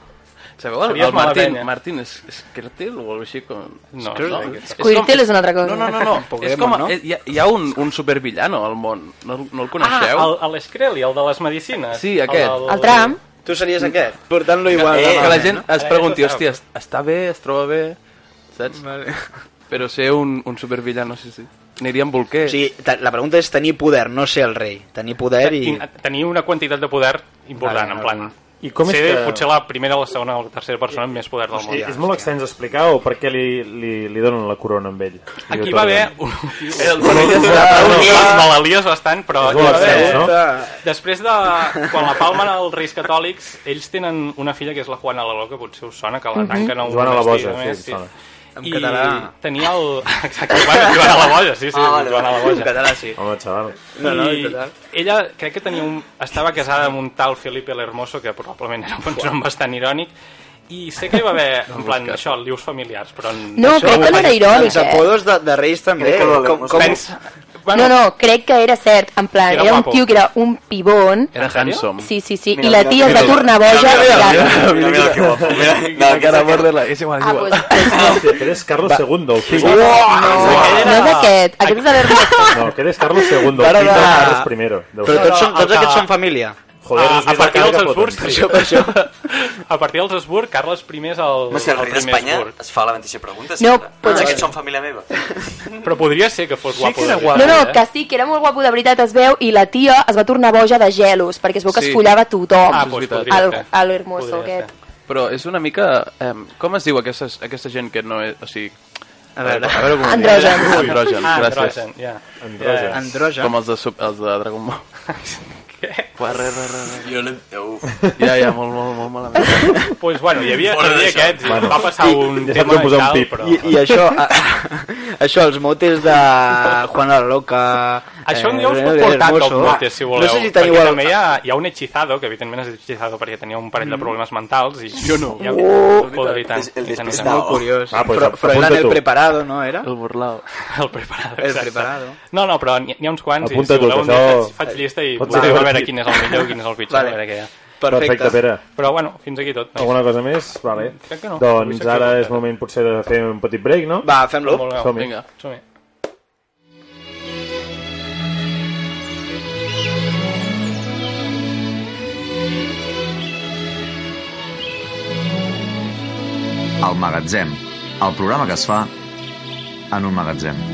Speaker 4: Sabeu el,
Speaker 6: Series
Speaker 4: el Martin,
Speaker 6: malaguenya.
Speaker 4: Martin es, Esquertel o alguna així com...
Speaker 6: No,
Speaker 4: Esquertel?
Speaker 6: no,
Speaker 4: És com-
Speaker 5: Squirtle és una altra cosa.
Speaker 4: No, no, no, no.
Speaker 3: Pokémon,
Speaker 4: és com,
Speaker 3: no?
Speaker 4: no? Hi, ha, hi ha un, un supervillano al món. No, no el
Speaker 6: Ah,
Speaker 4: coneixeu?
Speaker 6: el, el Escreli, el de les medicines.
Speaker 4: Sí, aquest.
Speaker 6: del-
Speaker 5: El Trump.
Speaker 3: Tu series aquest? Portant-lo igual.
Speaker 4: Eh,
Speaker 3: de
Speaker 4: que la
Speaker 3: malament,
Speaker 4: gent
Speaker 3: no?
Speaker 4: es
Speaker 6: Ara
Speaker 4: pregunti,
Speaker 6: ja s'ho sap.
Speaker 4: hòstia, es- està bé, es troba bé, saps?
Speaker 3: Vale.
Speaker 4: Però ser un, un supervillano, sí, sí. Aniria amb bolquer.
Speaker 3: O sigui, ta- la pregunta és tenir poder, no ser el rei. Tenir poder i...
Speaker 6: Ten- Tenir una quantitat de poder important,
Speaker 3: Vale,
Speaker 6: en plan...
Speaker 2: I com és
Speaker 6: ser
Speaker 2: que-
Speaker 6: potser la primera, la segona o la tercera persona amb més poder del món.
Speaker 2: I és molt extens explicar o per què li, li, li donen la corona amb ell? Li
Speaker 6: Aquí va haver...
Speaker 2: atorguen.
Speaker 6: un- Malalies bastant, però
Speaker 2: És
Speaker 6: aquí
Speaker 2: molt
Speaker 6: va haver...
Speaker 3: Eh,
Speaker 2: extens, no?
Speaker 6: Després de... Quan la palmen els reis catòlics, ells tenen una filla que és la Juana la Loca, potser us sona, que
Speaker 5: Mhm.
Speaker 6: la tanquen a un
Speaker 2: Joana la
Speaker 6: monestir,
Speaker 2: Boja,
Speaker 6: a
Speaker 2: sí,
Speaker 6: més,
Speaker 2: em sona.
Speaker 3: En
Speaker 6: I
Speaker 3: català.
Speaker 6: tenia el... Exacte, Joana Joana la Boja, sí, sí,
Speaker 7: Ah, vale,
Speaker 6: Joana la
Speaker 7: vale.
Speaker 6: Boja.
Speaker 3: Català, sí.
Speaker 2: Home, xaval.
Speaker 3: No, no, i
Speaker 6: I
Speaker 3: total.
Speaker 6: ella crec que tenia un... estava casada amb un tal Felipe el Hermoso, que probablement era un nom bastant irònic, i sé que hi va haver, en plan, això, lius familiars, però... En...
Speaker 5: No,
Speaker 6: això
Speaker 5: crec que no era irònic,
Speaker 3: Els
Speaker 5: eh?
Speaker 3: apodos de, de reis també.
Speaker 7: Crec que lo de
Speaker 3: Com,
Speaker 7: los
Speaker 3: com,
Speaker 6: Pens...
Speaker 5: No, no, crec que era cert. En plan,
Speaker 6: Era
Speaker 5: era un
Speaker 6: guapo.
Speaker 5: tio que era un pibón.
Speaker 4: Era handsome.
Speaker 5: Sí, sí, sí. I
Speaker 7: Mira,
Speaker 5: la
Speaker 7: mira,
Speaker 5: tia es va
Speaker 7: mira,
Speaker 5: tornar boja.
Speaker 7: mira,
Speaker 5: i
Speaker 7: mira,
Speaker 5: ja-
Speaker 7: Mira, mira que guapo. Mira, no,
Speaker 4: la cara borderline. És igual, és
Speaker 5: Ah,
Speaker 4: igual.
Speaker 5: pues, pues
Speaker 2: Hòstia, que eres Carlos II, el fill.
Speaker 5: no. No és aquest. Aquest és l'Hermoso.
Speaker 2: No, que eres Carlos II, el fill de
Speaker 3: Ara va.
Speaker 2: Carlos I. Deu
Speaker 3: Però
Speaker 2: ser.
Speaker 3: tots, són,
Speaker 6: No, no,
Speaker 3: tots
Speaker 6: el
Speaker 3: aquests
Speaker 6: que-
Speaker 3: són família.
Speaker 2: Joder,
Speaker 6: Ah, a-
Speaker 2: no has vist
Speaker 6: a
Speaker 2: la
Speaker 6: partir
Speaker 2: cara
Speaker 6: dels
Speaker 2: que foten.
Speaker 6: Habsburgs, això,
Speaker 3: Per això...
Speaker 6: A partir dels Habsburg, Carles I és el,
Speaker 7: Home, si el rei
Speaker 6: el primer
Speaker 7: d'Espanya
Speaker 6: Habsburg.
Speaker 7: es fa la mateixa pregunta,
Speaker 5: No,
Speaker 7: sempre.
Speaker 5: però-
Speaker 7: Tots aquests són família meva.
Speaker 6: Però podria ser que fos guapo.
Speaker 4: que era
Speaker 6: de-
Speaker 4: guapo.
Speaker 5: No, no,
Speaker 4: eh?
Speaker 5: que sí, que era molt guapo, de veritat, es veu, i la tia es va tornar boja de gelos, perquè es veu que
Speaker 4: Sí.
Speaker 5: es follava tothom.
Speaker 6: Ah, doncs
Speaker 4: veritat.
Speaker 6: podria
Speaker 5: el,
Speaker 6: ser.
Speaker 5: el hermoso
Speaker 6: Podria
Speaker 5: aquest.
Speaker 6: ser.
Speaker 4: Però és una mica... Eh, com es diu aquesta, aquesta gent que no és... O sigui,
Speaker 3: A veure,
Speaker 4: a veure com ho dic.
Speaker 5: Andrògens.
Speaker 4: Andrògens,
Speaker 6: Ah,
Speaker 4: gràcies.
Speaker 2: Eh,
Speaker 6: androgen, ja.
Speaker 2: Andrògens.
Speaker 3: androgen.
Speaker 4: Com els de, Sup- els de Dragon Ball.
Speaker 6: Què?
Speaker 4: Uah, re, re, re, re.
Speaker 7: Jo l'hem...
Speaker 4: Ja, ja, molt, molt, molt malament.
Speaker 6: pues bueno, hi havia, hi havia aquests, bueno, va passar
Speaker 3: I-
Speaker 6: un tema i tal, però...
Speaker 3: I, i això, a, això, els motes de Juan la Loca...
Speaker 6: Això em
Speaker 3: eh,
Speaker 6: un dia us puc
Speaker 3: René
Speaker 6: portar
Speaker 3: Hermoso.
Speaker 6: top notes, si voleu.
Speaker 3: No sé si teniu...
Speaker 6: Perquè
Speaker 3: el-
Speaker 6: també hi ha, hi ha un hechizado, que evidentment és hechizado perquè tenia un parell de problemes mentals. I
Speaker 4: Jo no.
Speaker 6: Hi ha,
Speaker 3: Uh!
Speaker 6: el Podri tant.
Speaker 3: El
Speaker 6: i tant, i
Speaker 3: despistado.
Speaker 6: tant.
Speaker 3: Molt curiós. Ah, pues Fre- apunta Froilán el tu. preparado, no era?
Speaker 4: El burlao.
Speaker 6: El preparado,
Speaker 3: El
Speaker 6: exacte.
Speaker 3: preparado.
Speaker 6: No, no, però n'hi n'hi ha uns quants.
Speaker 2: Apunta
Speaker 6: i, si
Speaker 2: tu,
Speaker 6: voleu,
Speaker 2: que
Speaker 6: un dia
Speaker 2: això-
Speaker 6: faig, faig llista i
Speaker 2: pot ser
Speaker 6: podeu veure
Speaker 2: divertit.
Speaker 6: quin és el millor quin és el pitjor.
Speaker 2: Vale.
Speaker 6: a veure què hi ha.
Speaker 2: Perfecte. Perfecte, Pere.
Speaker 6: Però bueno, fins aquí tot. nois.
Speaker 2: Alguna cosa més? Vale.
Speaker 6: Crec que no. Avui
Speaker 2: Doncs
Speaker 6: s'ha
Speaker 2: ara és moment potser de fer un petit break, no?
Speaker 3: Va, fem-lo.
Speaker 6: Molt bé,
Speaker 2: Som-hi.
Speaker 6: Vinga, som -hi.
Speaker 1: El magatzem, el programa que es fa en un magatzem.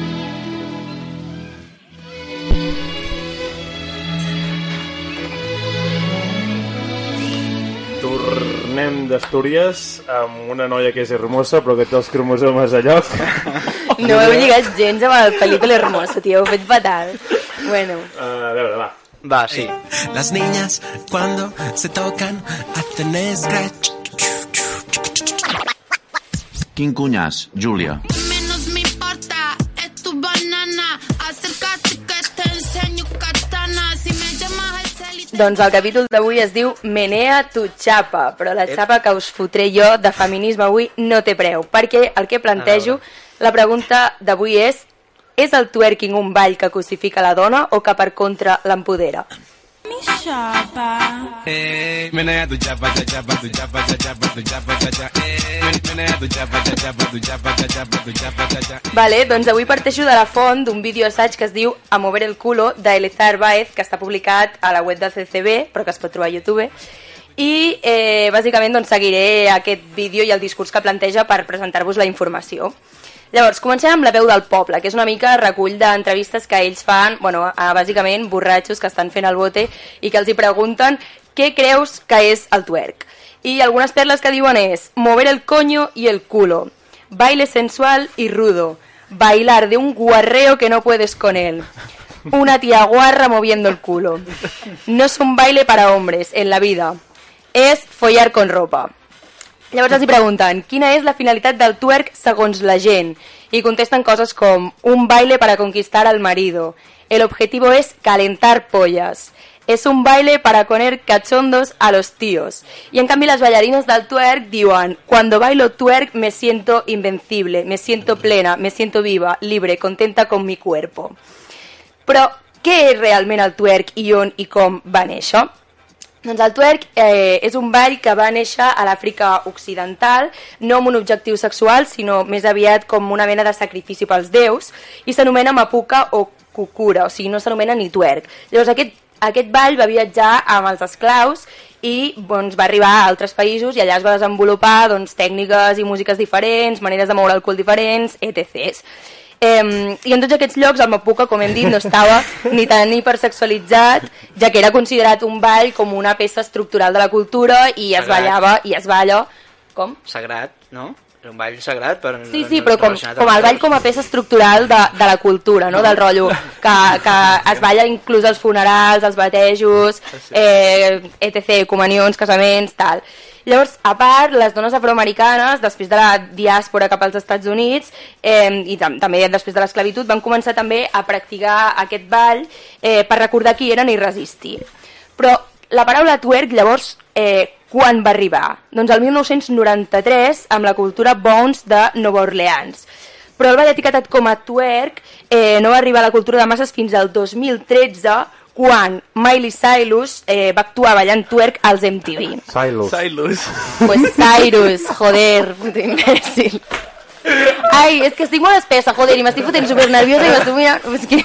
Speaker 2: Tornem d'Astúries amb una noia que és hermosa però que té els cromosomes Eh, a lloc.
Speaker 5: No heu lligat gens amb la pel·lícula hermosa, tio, heu fet fatal. Bueno,
Speaker 2: A veure, va.
Speaker 3: Va, sí.
Speaker 11: Las niñas cuando se tocan hacen scratch.
Speaker 1: Quin cunyàs, Júlia.
Speaker 12: menos me importa, es tu banana. Acércate que te enseño katana. Si me llamas al cel y te
Speaker 5: doncs el capítol d'avui es diu Menea tu xapa, però la xapa que us fotré jo de feminisme avui no té preu, perquè el que
Speaker 6: Ah,
Speaker 5: plantejo, la pregunta d'avui és és el twerking un ball que cosifica la dona o que per contra l'empodera?
Speaker 12: mi chapa.
Speaker 11: Eh, menea tu chapa, cha chapa, tu chapa, cha chapa, tu chapa, cha cha. Eh, men- menea tu chapa, cha chapa, tu chapa, cha chapa, tu chapa, cha cha.
Speaker 5: Vale, doncs avui parteixo de la font d'un vídeo assaig que es diu A mover el culo, d'Elezar Baez, que està publicat a la web de CCB, però que es pot trobar a YouTube. I, eh, bàsicament, doncs, seguiré aquest vídeo i el discurs que planteja per presentar-vos la informació. Llavors, comencem amb la veu del poble, que és una mica recull d'entrevistes que ells fan, bueno, a, bàsicament, borratxos que estan fent el bote i que els hi pregunten què creus que és el twerk. I algunes perles que diuen és mover el coño y el culo, baile sensual y rudo, bailar de un guarreo que no puedes con él, una tía guarra moviendo el culo. No es un baile para hombres en la vida, és follar con ropa. Llavors els hi pregunten quina és la finalitat del twerk segons la gent i contesten coses com un baile para conquistar al marido, el objetivo es calentar pollas, es un baile para poner cachondos a los tíos. Y en cambio las bailarinas del twerk diuen cuando bailo twerk me siento invencible, me siento plena, me siento viva, libre, contenta con mi cuerpo. Però què és realment el twerk i on i com va néixer? Doncs el twerk eh, és un ball que va néixer a l'Àfrica Occidental, no amb un objectiu sexual, sinó més aviat com una mena de sacrifici pels déus, i s'anomena mapuca o cucura, o sigui, no s'anomena ni twerk. Llavors aquest, aquest ball va viatjar amb els esclaus i doncs, va arribar a altres països i allà es va desenvolupar doncs, tècniques i músiques diferents, maneres de moure el cul diferents, etc. Eh, I en tots aquests llocs el Mapuca, com hem dit, no estava ni tan hipersexualitzat, ja que era considerat un ball com una peça estructural de la cultura i es
Speaker 3: Sagrat.
Speaker 5: ballava i es balla com?
Speaker 3: Sagrat, no? Era un ball sagrat, però...
Speaker 5: Sí,
Speaker 3: no-
Speaker 5: sí,
Speaker 3: no
Speaker 5: però com,
Speaker 3: relacionat
Speaker 5: com
Speaker 3: amb
Speaker 5: el ball com a peça estructural de, de la cultura, no? del rotllo que, que es balla inclús als funerals, als batejos, eh, etc, comunions, casaments, tal. Llavors, a part, les dones afroamericanes, després de la diàspora cap als Estats Units eh, i tam també després de l'esclavitud, van començar també a practicar aquest ball eh, per recordar qui eren i resistir. Però la paraula twerk, llavors, eh, quan va arribar? Doncs el 1993, amb la cultura Bones de Nova Orleans. Però el ball etiquetat com a twerk eh, no va arribar a la cultura de masses fins al 2013, quan Miley Cyrus eh, va actuar ballant twerk als MTV.
Speaker 2: Silos.
Speaker 4: Silos.
Speaker 5: Pues Cyrus, joder, puto imbécil. Ay, es que estic molt espessa, joder, i m'estic fotent super nerviosa i m'estic mirant... És que...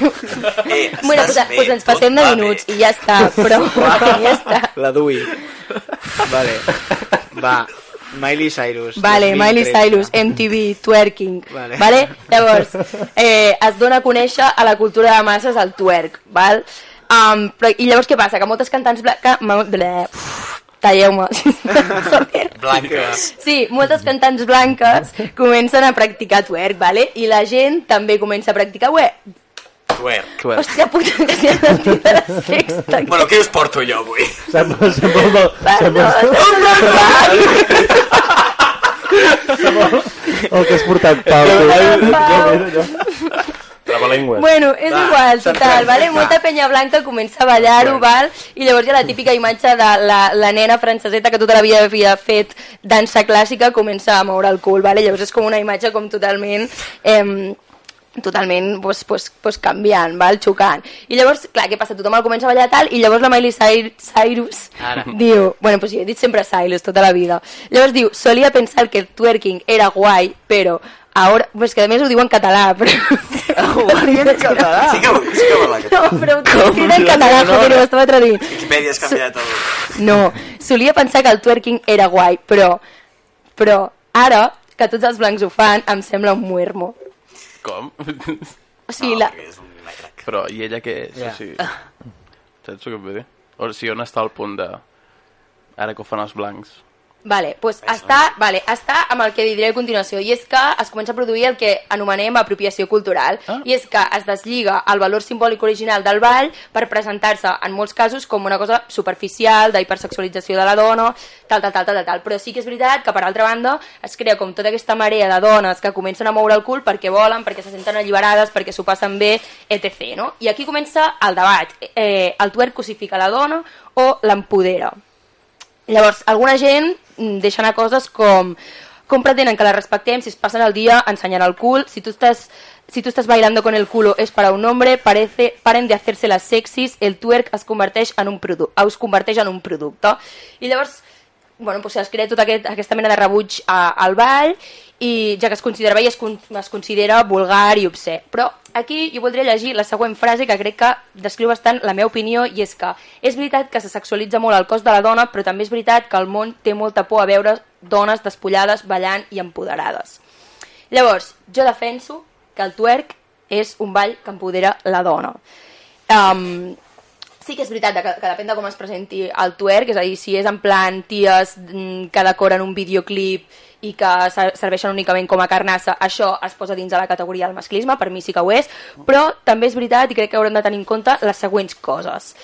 Speaker 5: bueno, pues, pues ens passem de minuts i ja està, però ja està.
Speaker 3: La Dui. Vale. Va. Miley Cyrus.
Speaker 5: Vale,
Speaker 3: 2013.
Speaker 5: Miley Cyrus, eh. MTV, twerking.
Speaker 3: Vale.
Speaker 5: Vale. vale? Llavors, eh, es dona a conèixer a la cultura de masses el twerk, val? Um, però, I llavors què passa? Que moltes cantants blanques... Ble, uf, Talleu-me.
Speaker 7: Blanques.
Speaker 5: Sí, moltes cantants blanques comencen a practicar twerk, vale? I la gent també comença a practicar we-
Speaker 7: Twer.
Speaker 5: Hòstia puta, que s'hi ha sentit a la sexta.
Speaker 7: Bueno, què us porto jo avui?
Speaker 2: Sembla, sembla, el del- sembla, el que has portat, Pau. tu. Jo, jo, jo. Trabalengua.
Speaker 5: Bueno, és
Speaker 2: Va,
Speaker 5: igual, total,
Speaker 2: centrem-nos,
Speaker 5: vale?
Speaker 2: va.
Speaker 5: Molta penya blanca comença a ballar-ho, val? I llavors hi ha la típica imatge de la, la nena franceseta que tota la vida havia fet dansa clàssica comença a moure el cul, vale? Llavors és com una imatge com totalment... Eh, totalment pues, pues, pues canviant, val? xocant. I llavors, clar, què passa? Tothom el comença a ballar tal i llavors la Miley Cyr- Cyrus
Speaker 13: Ara.
Speaker 5: diu... Bueno, pues jo he dit sempre Cyrus tota la vida. Llavors diu, solia pensar que el twerking era guai, però ahora... Pues que a més ho diu en català, però...
Speaker 7: Sí que, ho- sí que ho parla
Speaker 5: No, però ho
Speaker 7: Com?
Speaker 5: tira en català,
Speaker 7: No, no.
Speaker 5: joder, ho estava traduint.
Speaker 7: Wikipedia has canviat el...
Speaker 5: No, solia pensar que el twerking era guai, però, però ara que tots els blancs ho fan, em sembla un muermo.
Speaker 4: Com?
Speaker 5: O sigui, la...
Speaker 4: Però, i ella què és?
Speaker 5: Ja.
Speaker 4: Yeah. O sigui, saps el que et vull dir? O sigui, on està el punt de... Ara que ho fan els blancs.
Speaker 5: Vale, pues està, vale, està amb el que diré a continuació, i és que es comença a produir el que anomenem apropiació cultural, i és que es deslliga el valor simbòlic original del ball per presentar-se, en molts casos, com una cosa superficial, d'hipersexualització de la dona, tal, tal, tal, tal, tal, tal. Però sí que és veritat que, per altra banda, es crea com tota aquesta marea de dones que comencen a moure el cul perquè volen, perquè se senten alliberades, perquè s'ho passen bé, etc. No? I aquí comença el debat. Eh, el twerk cosifica la dona o l'empodera? Llavors, alguna gent mm, deixa anar coses com com pretenen que la respectem si es passen el día enseñant el cul, si tú estás si tú estás bailando con el culo es para un hombre, parece, paren de hacerse las sexys, el twerk es converteix en un producte, us converteix en un producte. I llavors, bueno, doncs es crea tota aquest, aquesta mena de rebuig a, al ball, i ja que es considera bé i es, con, es considera vulgar i obscè. Però aquí jo voldria llegir la següent frase que crec que descriu bastant la meva opinió, i és que és veritat que se sexualitza molt el cos de la dona, però també és veritat que el món té molta por a veure dones despullades, ballant i empoderades. Llavors, jo defenso que el twerk és un ball que empodera la dona. Um, sí que és veritat que, que depèn de com es presenti el twerk, és a dir, si és en plan ties mm, que decoren un videoclip i que ser- serveixen únicament com a carnassa, això es posa dins de la categoria del masclisme, per mi sí que ho és, però també és veritat i crec que haurem de tenir en compte les següents coses.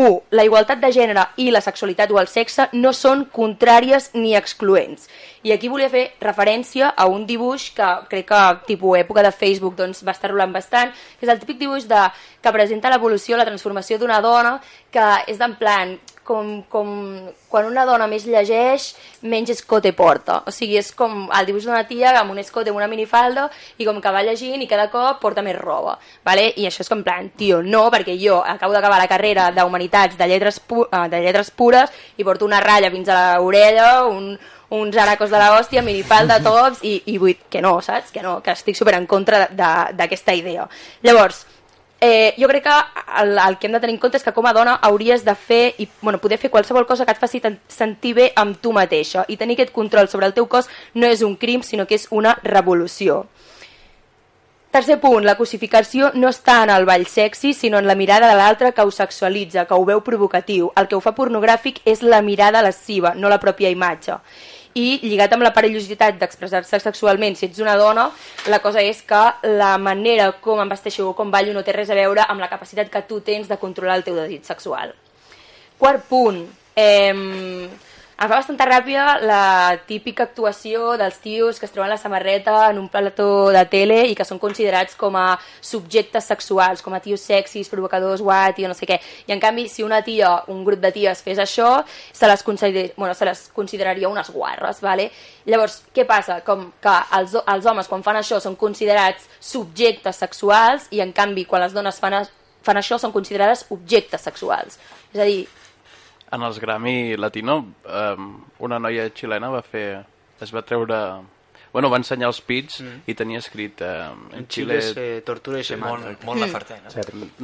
Speaker 5: 1. La igualtat de gènere i la sexualitat o el sexe no són contràries ni excloents. I aquí volia fer referència a un dibuix que crec que, tipus època de Facebook, doncs va estar rolant bastant, que és el típic dibuix de, que presenta l'evolució, la transformació d'una dona, que és d'en plan, com, com quan una dona més llegeix, menys escote porta. O sigui, és com el dibuix d'una tia amb un escote, una minifalda, i com que va llegint i cada cop porta més roba. Vale? I això és com en plan, tio, no, perquè jo acabo d'acabar la carrera d'Humanitats de, lletres pu eh, de lletres pures i porto una ratlla fins a l'orella, un, uns aracos de la hòstia, minifalda, tops, i, i vull que no, saps? Que no, que estic super en contra de- de- d'aquesta idea. Llavors, eh, jo crec que el, el que hem de tenir en compte és que com a dona hauries de fer i bueno, poder fer qualsevol cosa que et faci ten- sentir bé amb tu mateixa i tenir aquest control sobre el teu cos no és un crim sinó que és una revolució. Tercer punt, la cosificació no està en el ball sexy, sinó en la mirada de l'altre que ho sexualitza, que ho veu provocatiu. El que ho fa pornogràfic és la mirada lasciva, no la pròpia imatge. I lligat amb la perillositat d'expressar-se sexualment, si ets una dona, la cosa és que la manera com em vesteixo o com ballo no té res a veure amb la capacitat que tu tens de controlar el teu desig sexual. Quart punt. Eh, em fa bastanta ràbia la típica actuació dels tios que es troben la samarreta en un plató de tele i que són considerats com a subjectes sexuals, com a tios sexis, provocadors, guai, tio, no sé què. I en canvi, si una tia, un grup de ties fes això, se les, consider... bueno, se les consideraria unes guarres, vale? Llavors, què passa? Com que els, ho- els homes quan fan això són considerats subjectes sexuals i en canvi quan les dones fan, a- fan això són considerades objectes sexuals. És a dir,
Speaker 4: En els Grammy Latino, um, una noia xilena va fer... Es va treure... Bueno, va ensenyar els pits mm. i tenia escrit... Um, en Xile...
Speaker 3: Xile se eh, tortura i se mata.
Speaker 4: Molt,
Speaker 3: molt Laferté,
Speaker 4: no?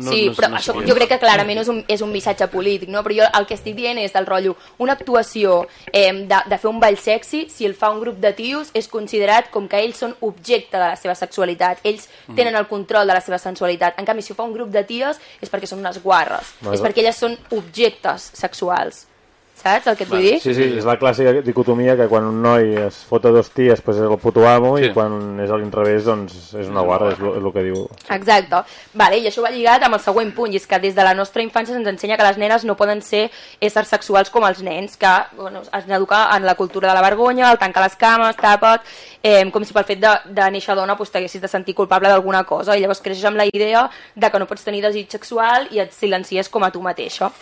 Speaker 5: No, sí, però no això,
Speaker 4: sé.
Speaker 5: jo crec que clarament és un, és un missatge polític, no? però jo el que estic dient és del rotllo, una actuació eh, de, de fer un ball sexy, si el fa un grup de tios, és considerat com que ells són objecte de la seva sexualitat, ells
Speaker 13: Mhm.
Speaker 5: tenen el control de la seva sensualitat, en canvi si ho fa un grup de ties és perquè són unes guarres,
Speaker 13: Vaja.
Speaker 5: és perquè elles són objectes sexuals. Saps el que et vull dir?
Speaker 2: Sí, sí, és la clàssica dicotomia que quan un noi es fota dos ties pues és el puto amo sí. i quan és a l'inrevés doncs és una guarra, és el que diu.
Speaker 5: Exacte. Vale, I això va lligat amb el següent punt, i és que des de la nostra infància se'ns ensenya que les nenes no poden ser éssers sexuals com els nens, que bueno, es educa en la cultura de la vergonya, el tancar les cames, tapa't, eh, com si pel fet de, de néixer dona doncs, t'haguessis de sentir culpable d'alguna cosa, i llavors creixes amb la idea de que no pots tenir desig sexual i et silencies com a tu mateixa.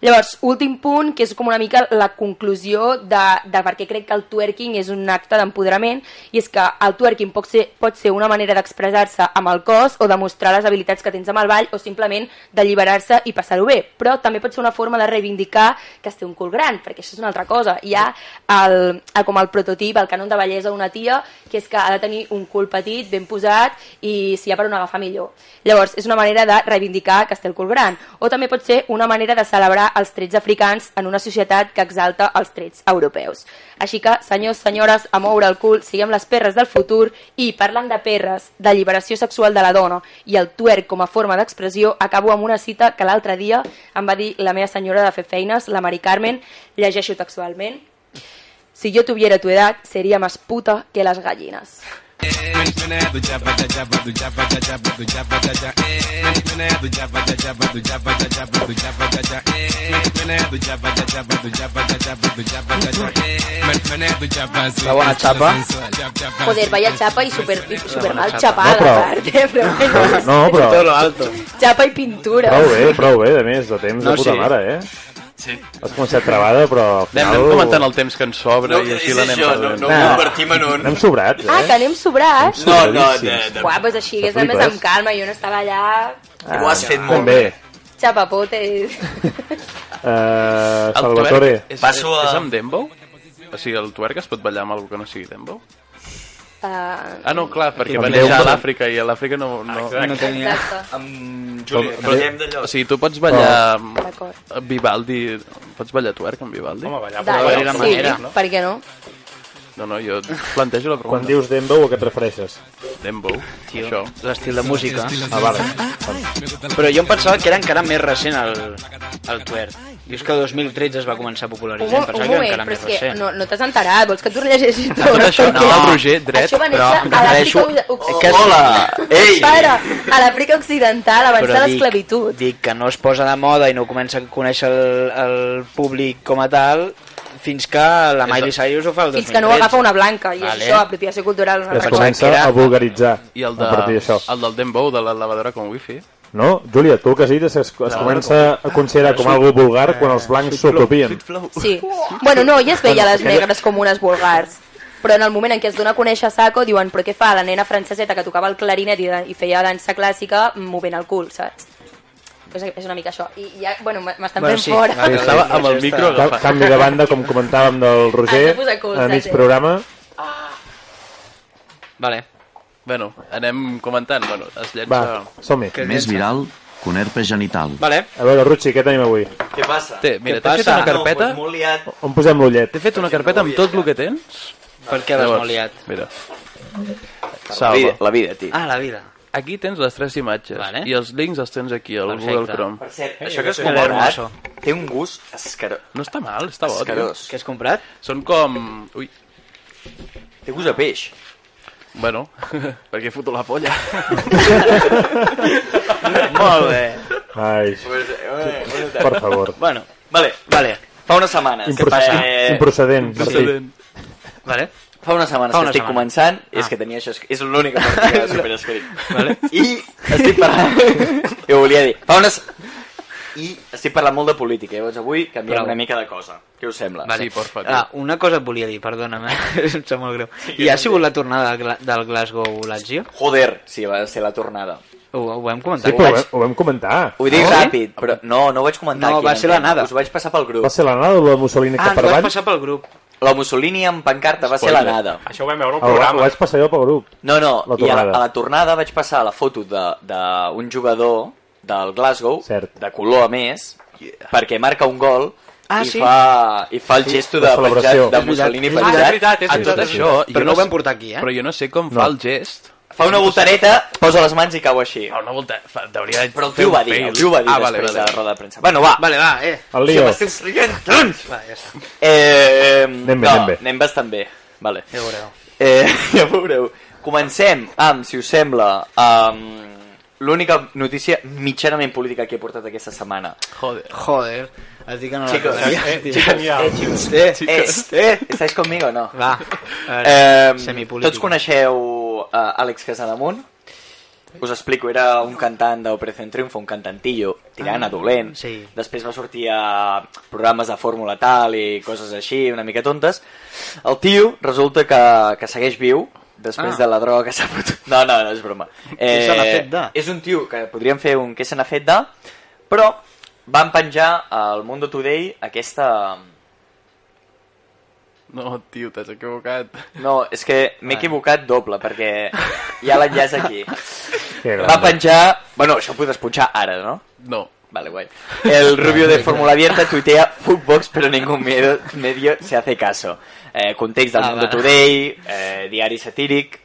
Speaker 5: Llavors, últim punt, que és com una mica la conclusió de, de per què crec que el twerking és un acte d'empoderament, i és que el twerking pot ser, pot ser una manera d'expressar-se amb el cos o demostrar les habilitats que tens amb el ball o simplement d'alliberar-se i passar-ho bé. Però també pot ser una forma de reivindicar que es té un cul gran, perquè això és una altra cosa. Hi ha el, el, com el prototip, el canon de bellesa d'una tia, que és que ha de tenir un cul petit, ben posat, i si hi ha per on agafar millor. Llavors, és una manera de reivindicar que es té el cul gran. O també pot ser una manera de celebrar els trets africans en una societat que exalta els trets europeus. Així que, senyors, senyores, a moure el cul, siguem les perres del futur i, parlant de perres, de lliberació sexual de la dona i el twerk com a forma d'expressió, acabo amb una cita que l'altre dia em va dir la meva senyora de fer feines, la Mari Carmen, llegeixo textualment, si yo tuviera tu edad, sería más puta que las gallinas.
Speaker 3: Una bona xapa.
Speaker 5: Joder, vaya chapa i super, i super mal
Speaker 2: Ah, No,
Speaker 5: chapada,
Speaker 2: però-
Speaker 5: a part, eh? però bueno,
Speaker 2: No,
Speaker 3: Todo
Speaker 2: però
Speaker 3: lo alto.
Speaker 5: chapa i pintura.
Speaker 2: prou eh, bé, prou bé, a més, de temps
Speaker 4: No,
Speaker 2: de puta
Speaker 4: sí.
Speaker 2: mare, eh?
Speaker 7: Sí.
Speaker 2: Has començat travada, però
Speaker 4: Anem,
Speaker 2: al final...
Speaker 4: anem comentant el temps que ens sobra
Speaker 7: No,
Speaker 4: i així
Speaker 7: és
Speaker 4: l'anem
Speaker 7: això,
Speaker 4: perdent.
Speaker 7: no-
Speaker 13: Ah.
Speaker 7: no ho convertim en un-
Speaker 2: Anem sobrats, eh?
Speaker 5: Ah, que anem sobrats?
Speaker 7: No, no, de, de...
Speaker 5: Uà, doncs així hagués anat més
Speaker 2: flipes.
Speaker 5: amb calma, jo no estava allà
Speaker 7: Ho has fet molt
Speaker 2: També.
Speaker 7: bé.
Speaker 5: xapapotes.
Speaker 2: Uh,
Speaker 4: El
Speaker 2: Salvatore.
Speaker 4: twerk és,
Speaker 7: Passo a-
Speaker 4: és amb Dembo? O sigui, el twerk es pot ballar amb algú que no sigui Dembo?
Speaker 5: Uh,
Speaker 4: Ah, no, clar, perquè
Speaker 2: Amb
Speaker 4: va néixer
Speaker 2: Dembo.
Speaker 4: a l'Àfrica i a l'Àfrica no... no...
Speaker 3: No tenia...
Speaker 5: exacte,
Speaker 7: Amb Juli,
Speaker 4: Però-
Speaker 7: parlem d'allò.
Speaker 4: O sigui, tu pots
Speaker 2: Ah.
Speaker 4: ballar amb
Speaker 5: d'acord.
Speaker 4: amb Vivaldi... Pots ballar twerk amb Vivaldi?
Speaker 6: Home, ballar, però
Speaker 5: Dale,
Speaker 6: ballar.
Speaker 5: sí,
Speaker 3: manera,
Speaker 5: no? per què no?
Speaker 4: No, no, jo et plantejo la
Speaker 2: Quan
Speaker 4: pregunta.
Speaker 2: dius Dembow, a què et refereixes?
Speaker 4: Dembo, això.
Speaker 3: L'estil de música.
Speaker 2: Ah, vale.
Speaker 3: Però jo em pensava que era encara més recent el, el twerk. I és que el 2013 es va començar a
Speaker 5: Un,
Speaker 3: popularitzar.
Speaker 5: mo-
Speaker 3: Em
Speaker 5: un
Speaker 3: pensava que era
Speaker 5: moment,
Speaker 3: encara
Speaker 5: però
Speaker 3: més
Speaker 5: és que
Speaker 3: recent.
Speaker 5: no, no t'has enterat, vols que t'ho rellegeixi tot?
Speaker 4: Tot això no,
Speaker 5: Perquè
Speaker 4: Roger, dret.
Speaker 5: Això va néixer
Speaker 3: però em
Speaker 5: a l'Àfrica
Speaker 3: refereixo-
Speaker 5: Occidental.
Speaker 3: Que- Hola! Ei!
Speaker 5: Para, a l'Àfrica Occidental, abans de l'esclavitud.
Speaker 3: dic que no es posa de moda i no comença a conèixer el, el públic com a tal fins que la Miley Cyrus ho fa el 2013.
Speaker 5: Fins que no ho agafa una blanca, i
Speaker 3: Vale.
Speaker 5: és això, apropiació cultural. Una
Speaker 2: Es
Speaker 5: altra cosa.
Speaker 2: comença
Speaker 3: era-
Speaker 2: a vulgaritzar
Speaker 4: I el, de,
Speaker 2: a partir d'això.
Speaker 4: el del Dembo, de la lavadora com wifi.
Speaker 2: No, Júlia, tu el que has dit és que es, es comença a considerar com algo vulgar quan els blancs s'ho copien.
Speaker 5: Sí. Bueno, no, ja es veia les negres com unes vulgars. Però en el moment en què es dona a conèixer a Saco, diuen, però què fa la nena franceseta que tocava el clarinet i, de- i feia dansa clàssica movent el cul, saps? És, és una mica això. I ja, bueno, m- m'estan
Speaker 3: Bueno,
Speaker 5: fent
Speaker 3: sí,
Speaker 5: fora.
Speaker 3: vale.
Speaker 4: Estava amb el micro
Speaker 2: Ca-
Speaker 4: agafat.
Speaker 2: Canvi de banda, com comentàvem del Roger,
Speaker 5: Has de posar cul,
Speaker 2: a mig
Speaker 5: saps?
Speaker 2: programa.
Speaker 3: Vale.
Speaker 4: Bueno, anem comentant. Bueno, es llença...
Speaker 2: Va, som-hi.
Speaker 3: Que-
Speaker 1: Més viral que un herpes genital.
Speaker 3: Vale.
Speaker 2: A veure, Rutxi, què tenim avui?
Speaker 7: Què passa?
Speaker 4: Té, mira,
Speaker 3: Què
Speaker 4: t'he fet
Speaker 3: passa?
Speaker 4: una carpeta...
Speaker 7: No, pues molt liat.
Speaker 2: On posem l'ullet?
Speaker 4: T'he fet una carpeta amb tot el que tens?
Speaker 3: Per què l'has
Speaker 4: Llavors,
Speaker 3: molt liat?
Speaker 4: Mira.
Speaker 13: La vida,
Speaker 4: Salva.
Speaker 13: la vida, tio.
Speaker 3: Ah, la vida.
Speaker 4: Aquí tens les tres imatges.
Speaker 3: Vale.
Speaker 4: I els links els tens aquí, al
Speaker 3: Perfecte.
Speaker 4: Google Chrome.
Speaker 13: Per cert,
Speaker 3: Ei,
Speaker 13: això que has
Speaker 3: que
Speaker 13: comprat
Speaker 3: hermoso.
Speaker 13: té un gust escarós.
Speaker 4: No està mal, està bo, tio.
Speaker 13: Escarós.
Speaker 3: Què has comprat?
Speaker 4: Són com... Ui,
Speaker 13: Té gust a peix.
Speaker 4: bueno, perquè foto la polla.
Speaker 13: Molt bé.
Speaker 2: Ai,
Speaker 13: Pues,
Speaker 2: per favor.
Speaker 3: Bueno,
Speaker 13: eh, Vale,
Speaker 3: vale.
Speaker 13: fa unes setmanes.
Speaker 2: Impro
Speaker 13: eh,
Speaker 2: improcedent. Martí.
Speaker 4: Precedent.
Speaker 3: Vale.
Speaker 13: Fa unes setmanes
Speaker 3: Fa
Speaker 13: que
Speaker 3: una
Speaker 13: estic
Speaker 3: setmana.
Speaker 13: començant, és
Speaker 3: Ah.
Speaker 13: que tenia això, és l'únic que tenia super escrit. Vale. I estic parlant... jo volia dir, fa unes... I estic parlant molt de política, eh? llavors avui canviem
Speaker 3: Prou.
Speaker 13: una mica de cosa. Què us sembla?
Speaker 3: Vale.
Speaker 4: Sí, porfa, tio.
Speaker 3: ah, una cosa et volia dir, perdona'm, eh? em sap molt greu. I ha sigut la tornada del Gla- del Glasgow Lazio?
Speaker 13: Joder, sí, va ser la tornada.
Speaker 3: Ho, ho hem
Speaker 2: Sí,
Speaker 3: comentat?
Speaker 2: però ho vam, ho vam comentar.
Speaker 13: Ho dic
Speaker 3: Ah,
Speaker 13: ràpid, però no, no ho vaig comentar
Speaker 3: No,
Speaker 13: aquí.
Speaker 3: va
Speaker 13: en
Speaker 3: ser la
Speaker 13: antena.
Speaker 3: nada.
Speaker 13: Us ho vaig passar pel grup.
Speaker 2: Va ser l'anada o la Mussolini
Speaker 3: Ah,
Speaker 2: cap
Speaker 3: ens
Speaker 2: per
Speaker 3: vas
Speaker 2: avall?
Speaker 3: passar pel grup.
Speaker 13: La Mussolini amb pancarta va ser la nada.
Speaker 6: Això ho vam veure al
Speaker 2: Ah, Ho, va- ho
Speaker 6: programa.
Speaker 2: vaig passar jo pel grup.
Speaker 13: No, no,
Speaker 2: La
Speaker 13: i a la,
Speaker 2: tornada.
Speaker 13: a la tornada vaig passar la foto d'un de, de un jugador del Glasgow,
Speaker 2: Cert.
Speaker 13: de color a més, yeah. perquè marca un gol
Speaker 3: Ah,
Speaker 13: i,
Speaker 3: sí? Ah,
Speaker 13: fa, i fa el
Speaker 2: Sí,
Speaker 13: gesto
Speaker 2: la
Speaker 13: de,
Speaker 2: celebració.
Speaker 13: penjat, de
Speaker 2: És
Speaker 13: Mussolini
Speaker 3: veritat, és
Speaker 13: penjat.
Speaker 6: veritat, és
Speaker 13: a
Speaker 6: veritat.
Speaker 13: tot
Speaker 4: Tot
Speaker 13: això.
Speaker 4: això...
Speaker 3: Però
Speaker 4: jo
Speaker 3: no ho
Speaker 4: sé-
Speaker 3: vam portar aquí, eh?
Speaker 4: Però jo no sé com
Speaker 2: No.
Speaker 4: fa el gest
Speaker 13: Fa una voltareta, posa les mans i cau així. Fa
Speaker 4: una volta... Fa, hauria de
Speaker 13: Però el tio va dir, el tio va dir
Speaker 4: ah,
Speaker 13: després
Speaker 4: vale,
Speaker 13: de la
Speaker 4: vale.
Speaker 13: roda de premsa. Bueno, va.
Speaker 3: Vale, va, eh.
Speaker 13: El
Speaker 3: lío.
Speaker 13: Tio, m'estic rient, doncs!
Speaker 3: Va, ja està.
Speaker 13: Eh,
Speaker 3: bé,
Speaker 13: no,
Speaker 3: anem bé.
Speaker 13: anem bastant bé. Vale.
Speaker 3: Ja ho veureu.
Speaker 13: Eh, ja ho veureu. Comencem amb, si us sembla, amb l'única notícia mitjanament política que he portat aquesta setmana.
Speaker 4: Joder.
Speaker 3: Joder. Has dit que no la
Speaker 13: Chicos,
Speaker 3: coneixia,
Speaker 13: eh,
Speaker 3: tio.
Speaker 13: chicos, eh, chicos, eh,
Speaker 3: Chicos.
Speaker 13: eh, eh, ¿estáis conmigo o no?
Speaker 3: Va, a
Speaker 13: Eh,
Speaker 3: veure, semipolítica.
Speaker 13: tots coneixeu uh, Àlex Casademunt? Us explico, era un cantant d'Operación Triunfo, un cantantillo tirant
Speaker 3: Ah,
Speaker 13: a dolent.
Speaker 3: sí.
Speaker 13: Després va sortir a programes de fórmula tal i coses així, una mica tontes. El tio resulta que, que segueix viu després
Speaker 3: Ah.
Speaker 13: de la droga que s'ha fotut. No, no, no, és broma. Eh,
Speaker 3: Què se n'ha fet de?
Speaker 13: És un tio que podríem fer un què se n'ha fet de, però van penjar al Mundo Today aquesta...
Speaker 4: No, tio, t'has equivocat.
Speaker 13: No, és que m'he
Speaker 4: Ah.
Speaker 13: equivocat doble, perquè hi ha l'enllaç aquí.
Speaker 4: Que
Speaker 13: Va
Speaker 4: grande.
Speaker 13: penjar... Bueno, això ho pots punxar ara, no?
Speaker 4: No.
Speaker 13: Vale, guai. El Rubio de Fórmula Abierta tuitea Footbox, pero ningún medio, medio se hace caso. Eh, context del
Speaker 3: Ah,
Speaker 13: Mundo
Speaker 3: vale.
Speaker 13: Today, eh, diari satíric...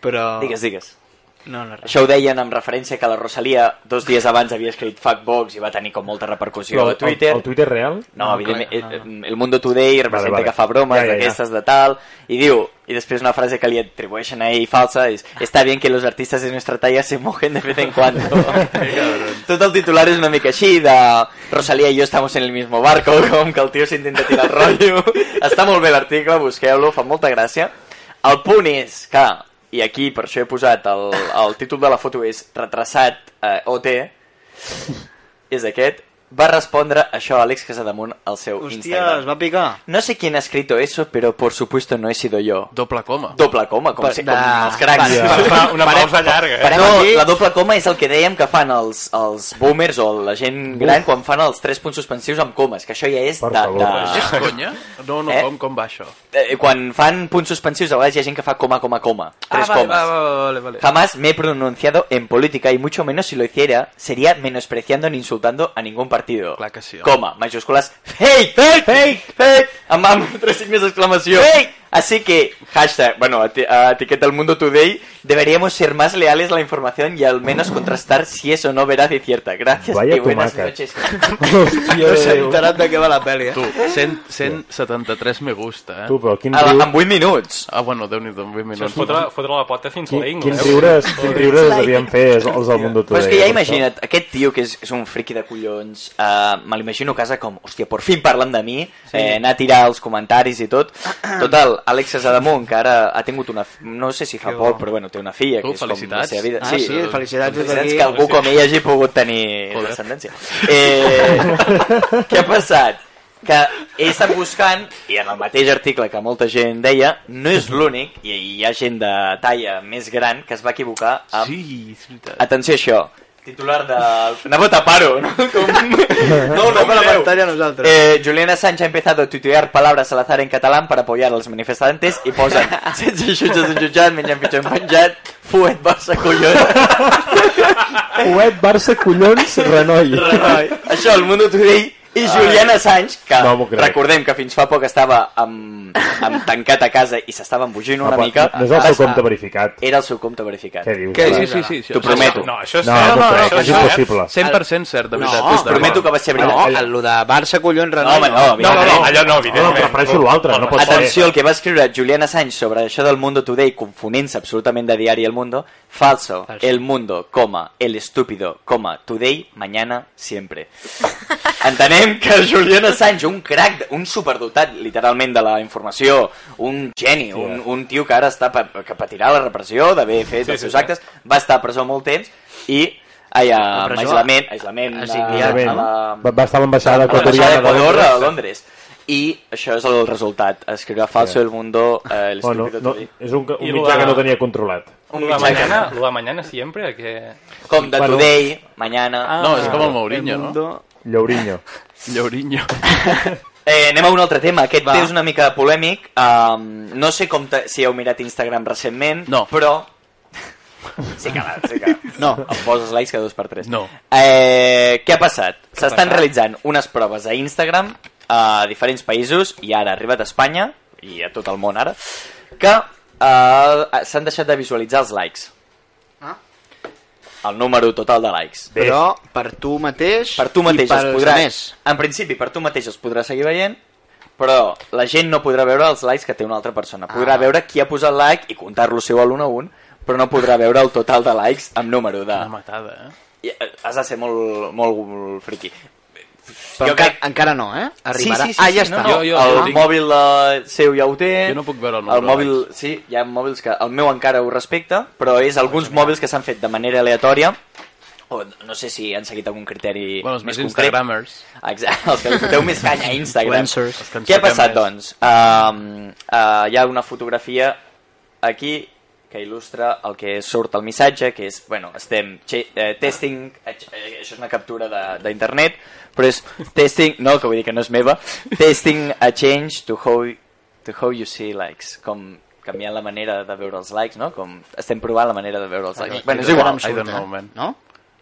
Speaker 3: Però...
Speaker 13: Digues, digues.
Speaker 3: No, no, res.
Speaker 13: Això ho deien amb referència que la Rosalia dos dies abans havia escrit Fuckbox i va tenir com molta repercussió
Speaker 2: Però
Speaker 13: a Twitter.
Speaker 2: El, el Twitter real?
Speaker 13: No, evidentment, eh, eh, el Mundo Today representa
Speaker 2: Vale,
Speaker 13: vale,
Speaker 2: vale.
Speaker 13: vale. que fa bromes
Speaker 2: Ja,
Speaker 13: ja,
Speaker 2: ja, ja.
Speaker 13: ja, d'aquestes de tal, i diu, i després una frase que li atribueixen a ell falsa, és «Está bien que los artistas de nuestra talla se mojen de vez en cuando». Tot el titular és una mica així, de «Rosalía i jo estamos en el mismo barco», com que el tio s'intenta tirar el rotllo. Està molt bé l'article, busqueu-lo, fa molta gràcia. El punt és que, i aquí per això he posat el, el títol de la foto és «Retrasat eh, OT», és aquest, va respondre això a Àlex Casademunt al seu
Speaker 3: Hòstia,
Speaker 13: Instagram.
Speaker 3: es va picar.
Speaker 13: No sé quién ha escrito eso, pero por supuesto no he sido yo.
Speaker 4: Doble coma.
Speaker 13: Doble coma, com,
Speaker 3: Pa-
Speaker 13: si, com
Speaker 3: da.
Speaker 13: els cracs.
Speaker 3: Ja. Pa- una
Speaker 13: Parem-
Speaker 3: pausa llarga, eh?
Speaker 13: Parem
Speaker 3: No.
Speaker 13: aquí. La doble coma és el que dèiem que fan els, els boomers o la gent gran
Speaker 4: Uf.
Speaker 13: quan fan els tres punts suspensius amb comes, que això ja és de...
Speaker 4: favor. És
Speaker 13: de...
Speaker 4: conya? No, no,
Speaker 13: Eh?
Speaker 4: eh? com, com va això?
Speaker 13: Eh, quan fan punts suspensius a vegades hi ha gent que fa coma, coma, coma.
Speaker 3: Ah,
Speaker 13: Tres
Speaker 4: vale,
Speaker 13: comes.
Speaker 4: Ah, va, va, va, vale, vale.
Speaker 13: Jamás me he pronunciado en política y mucho menos si lo hiciera sería menospreciando ni insultando a ningún partido.
Speaker 4: Clar que sí. home.
Speaker 13: Coma, mayúsculas. Fake, fake, fake, fake. Amb, amb tres signos de exclamación. Así que, hashtag, bueno, eti- a etiqueta al mundo today, deberíamos ser más leales a la información y al menos contrastar si es o no veraz y cierta. Gracias
Speaker 2: Vaya Eh,
Speaker 13: y buenas
Speaker 2: tomaca.
Speaker 13: noches.
Speaker 2: Hòstia,
Speaker 3: No s'ha enterat de què va la pel·li, eh?
Speaker 4: Tu, 100, 173 me gusta, eh?
Speaker 2: Tu, però
Speaker 13: Ah,
Speaker 2: quin riu-
Speaker 13: en 8 minuts.
Speaker 4: Ah, bueno, déu-n'hi-do, en 8 minuts.
Speaker 6: Fotre, fotre la pota fins a la
Speaker 2: Quins riures, quins riures devien fer els, els del Mundo
Speaker 13: Però
Speaker 2: Today.
Speaker 13: és que ja
Speaker 2: eh,
Speaker 13: imagina't, aquest tio que és, és un friki de collons, eh, me l'imagino a casa com, hòstia, per fin parlen de mi, sí. eh, anar a tirar els comentaris i tot. Total, Àlex Asadamont, que ara ha tingut una... fi- No sé si fa
Speaker 3: Que bo.
Speaker 13: poc, però bueno, té una filla,
Speaker 3: Tu,
Speaker 13: que és com la
Speaker 3: felicitats.
Speaker 13: seva vida.
Speaker 3: Ah, sí, felicitats des
Speaker 13: felicitats
Speaker 3: d'aquí.
Speaker 13: que algú com ell hagi pogut tenir
Speaker 3: Joder.
Speaker 13: descendència. Eh, què ha passat? Que he estat buscant, i en el mateix article que molta gent deia, no és l'únic, i hi ha gent de talla més gran que es va equivocar amb
Speaker 4: Sí, és veritat.
Speaker 13: Atenció a això. Titular de... Anava a tapar-ho, no? Com... No, no,
Speaker 3: Obre la
Speaker 13: creu.
Speaker 3: pantalla a nosaltres.
Speaker 13: Eh, Juliana Sánchez ha empezado a tuitear palabras al azar en catalán para apoyar a los manifestantes i posen sense jutges en jutjat, menjant pitjor en penjat, fuet, barça, collons.
Speaker 2: Fuet, Barça, collons, Renoi.
Speaker 13: Renoi. Això, el Mundo Today i Juliana Sánchez, que
Speaker 2: No m'ho crec.
Speaker 13: recordem que fins fa poc estava amb, amb tancat a casa i s'estava embogint
Speaker 2: No,
Speaker 13: una
Speaker 2: però
Speaker 13: mica.
Speaker 2: no és el seu
Speaker 13: va estar-
Speaker 2: compte verificat.
Speaker 13: Era el seu compte verificat.
Speaker 2: Què dius? Què
Speaker 13: Sí,
Speaker 2: dius?
Speaker 13: sí, sí,
Speaker 2: Sí, sí,
Speaker 13: T'ho
Speaker 2: això-
Speaker 13: prometo.
Speaker 2: No, això és No, cert. no, no, No, això és és impossible.
Speaker 4: 100% cert, de veritat.
Speaker 13: us prometo que va ser veritat.
Speaker 3: No, el de Barça, collons, Renoi.
Speaker 13: home, no, evidentment.
Speaker 2: No, em refereixo a l'altre, no pot ser.
Speaker 13: Atenció, el que va escriure Juliana Sánchez sobre això del Mundo Today, confonent-se absolutament de diari El Mundo, falso, el mundo, coma, el estúpido, coma, today, mañana, siempre. Entenem que Juliana Sánchez, un crac, un superdotat, literalment, de la informació, un geni, un, un tio que ara està pa, que patirà la repressió d'haver fet
Speaker 3: Sí,
Speaker 13: els
Speaker 3: sí,
Speaker 13: seus
Speaker 3: sí.
Speaker 13: actes, va estar a presó molt temps i... Ai, a,
Speaker 3: presó,
Speaker 13: aislament, aislament,
Speaker 2: Aïllament.
Speaker 13: a, a la,
Speaker 2: Va, va estar a l'ambaixada
Speaker 13: Equatoriana
Speaker 2: equatoriana
Speaker 13: de Ecuador a Londres. I això és el resultat. Escriure falso el mundo, eh, el
Speaker 2: Bueno,
Speaker 13: estúpido
Speaker 2: no,
Speaker 13: Today.
Speaker 2: és un,
Speaker 6: I
Speaker 2: un mitjà
Speaker 6: la-
Speaker 2: que no tenia controlat.
Speaker 6: Lo de mañana, lo de mañana siempre, que...
Speaker 13: Com de
Speaker 2: Bueno.
Speaker 13: Today, mañana...
Speaker 6: Ah,
Speaker 4: No, és com el Mourinho, no?
Speaker 2: Llaurinho.
Speaker 4: Llaurinho.
Speaker 13: Eh, anem a un altre tema. Aquest té és una mica polèmic. Um, no sé com te- si heu mirat Instagram recentment, no. però... Sí que va, sí que... No, em poses likes cada dos per tres.
Speaker 4: No.
Speaker 13: Eh, què ha passat?
Speaker 4: Què ha
Speaker 13: S'estan
Speaker 4: passat?
Speaker 13: realitzant unes proves a Instagram a diferents països i ara ha arribat a Espanya i a tot el món ara que eh, s'han deixat de visualitzar els likes.
Speaker 3: Ah.
Speaker 13: El número total de likes.
Speaker 3: Però per tu mateix
Speaker 13: per tu mateix
Speaker 3: i per
Speaker 13: es podrà...
Speaker 3: més.
Speaker 13: En principi, per tu mateix es podrà seguir veient, però la gent no podrà veure els likes que té una altra persona. Podrà
Speaker 3: Ah.
Speaker 13: veure qui ha posat like i comptar-lo seu a l'1 a 1, però no podrà veure el total de likes amb número de... Una
Speaker 4: matada, eh?
Speaker 13: Has de ser molt, molt friqui.
Speaker 3: Però enca- encara no, eh? Arribarà.
Speaker 13: Sí, sí, sí,
Speaker 3: Ah, ja
Speaker 13: sí,
Speaker 3: està.
Speaker 13: No, no,
Speaker 3: Jo-
Speaker 13: jo,
Speaker 3: jo-
Speaker 13: el
Speaker 3: jo tinc-
Speaker 13: mòbil eh, seu ja ho té.
Speaker 4: Jo no puc veure el
Speaker 13: El
Speaker 4: número
Speaker 13: mòbil, sí, hi ha mòbils que... El meu encara ho respecta, però és alguns mòbils que s'han fet de manera aleatòria o no sé si han seguit algun criteri
Speaker 4: Bueno, els
Speaker 13: més
Speaker 4: més
Speaker 13: concret.
Speaker 4: instagramers.
Speaker 13: Exacte, els que li foteu més canya a Instagram.
Speaker 4: Influencers. Els que en
Speaker 13: Què ha
Speaker 4: saquem
Speaker 13: passat,
Speaker 4: més.
Speaker 13: doncs? Um, uh, hi ha una fotografia aquí que il·lustra el que surt al missatge, que és, bueno, estem che- eh, testing, eh, això és una captura de- d'internet, però és testing, no, que vull dir que no és meva, testing a change to how, to how you see likes, com canviant la manera de veure els likes, no? Com estem provant la manera de veure els likes.
Speaker 4: I
Speaker 13: Bueno, és
Speaker 4: don't-
Speaker 13: igual.
Speaker 4: I don't know, man.
Speaker 3: eh? No?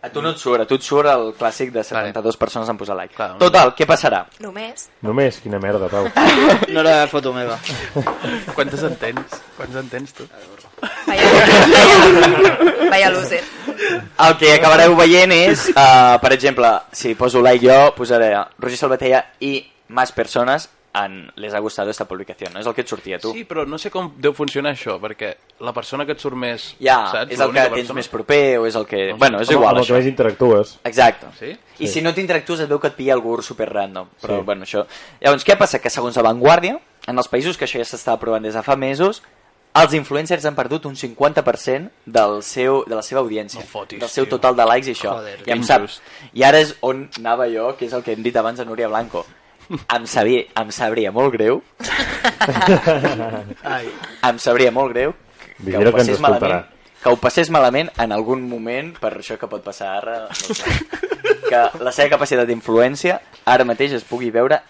Speaker 13: A tu no et surt, a tu et surt el clàssic de 72 persones en posar like.
Speaker 4: Clar,
Speaker 13: Total, què passarà?
Speaker 5: Només.
Speaker 2: Només, quina merda, Pau.
Speaker 3: No era foto meva.
Speaker 4: Quantes en tens? Quants en tens, tu?
Speaker 5: Vaya, vaya loser.
Speaker 13: El que acabareu veient és, uh, per exemple, si poso like jo, posaré Roger Salvatella i más persones en les ha gustado esta publicación. No és el que et sortia a tu.
Speaker 4: Sí, però no sé com deu funcionar això, perquè la persona que et surt més...
Speaker 13: ja,
Speaker 4: saps?
Speaker 13: és el que
Speaker 4: L'única
Speaker 13: tens
Speaker 4: persona.
Speaker 13: més proper o és el que... bueno, és
Speaker 2: Amb-
Speaker 13: igual,
Speaker 2: amb el que
Speaker 13: això.
Speaker 2: més interactues.
Speaker 13: Exacte.
Speaker 4: Sí?
Speaker 13: I
Speaker 2: Sí.
Speaker 13: si no t'interactues et veu que et pilla algú super random. Però,
Speaker 2: Sí.
Speaker 13: bueno, això... Llavors, què passa? Que segons La Vanguardia, en els països que això ja s'està provant des de fa mesos, els influencers han perdut un 50% del seu, de la seva audiència, no fotis, del seu total de likes i això.
Speaker 4: Joder,
Speaker 13: I em
Speaker 4: que
Speaker 13: sap.
Speaker 4: injust.
Speaker 13: I ara és on anava jo, que és el que hem dit abans de Núria Blanco. Em, sabia, em sabria molt greu
Speaker 3: Ai.
Speaker 13: em sabria molt greu que
Speaker 2: Vigila
Speaker 13: ho
Speaker 2: que
Speaker 13: passés
Speaker 2: ens escoltarà.
Speaker 13: malament que ho passés malament en algun moment per això que pot passar ara no ho sé. que la seva capacitat d'influència ara mateix es pugui veure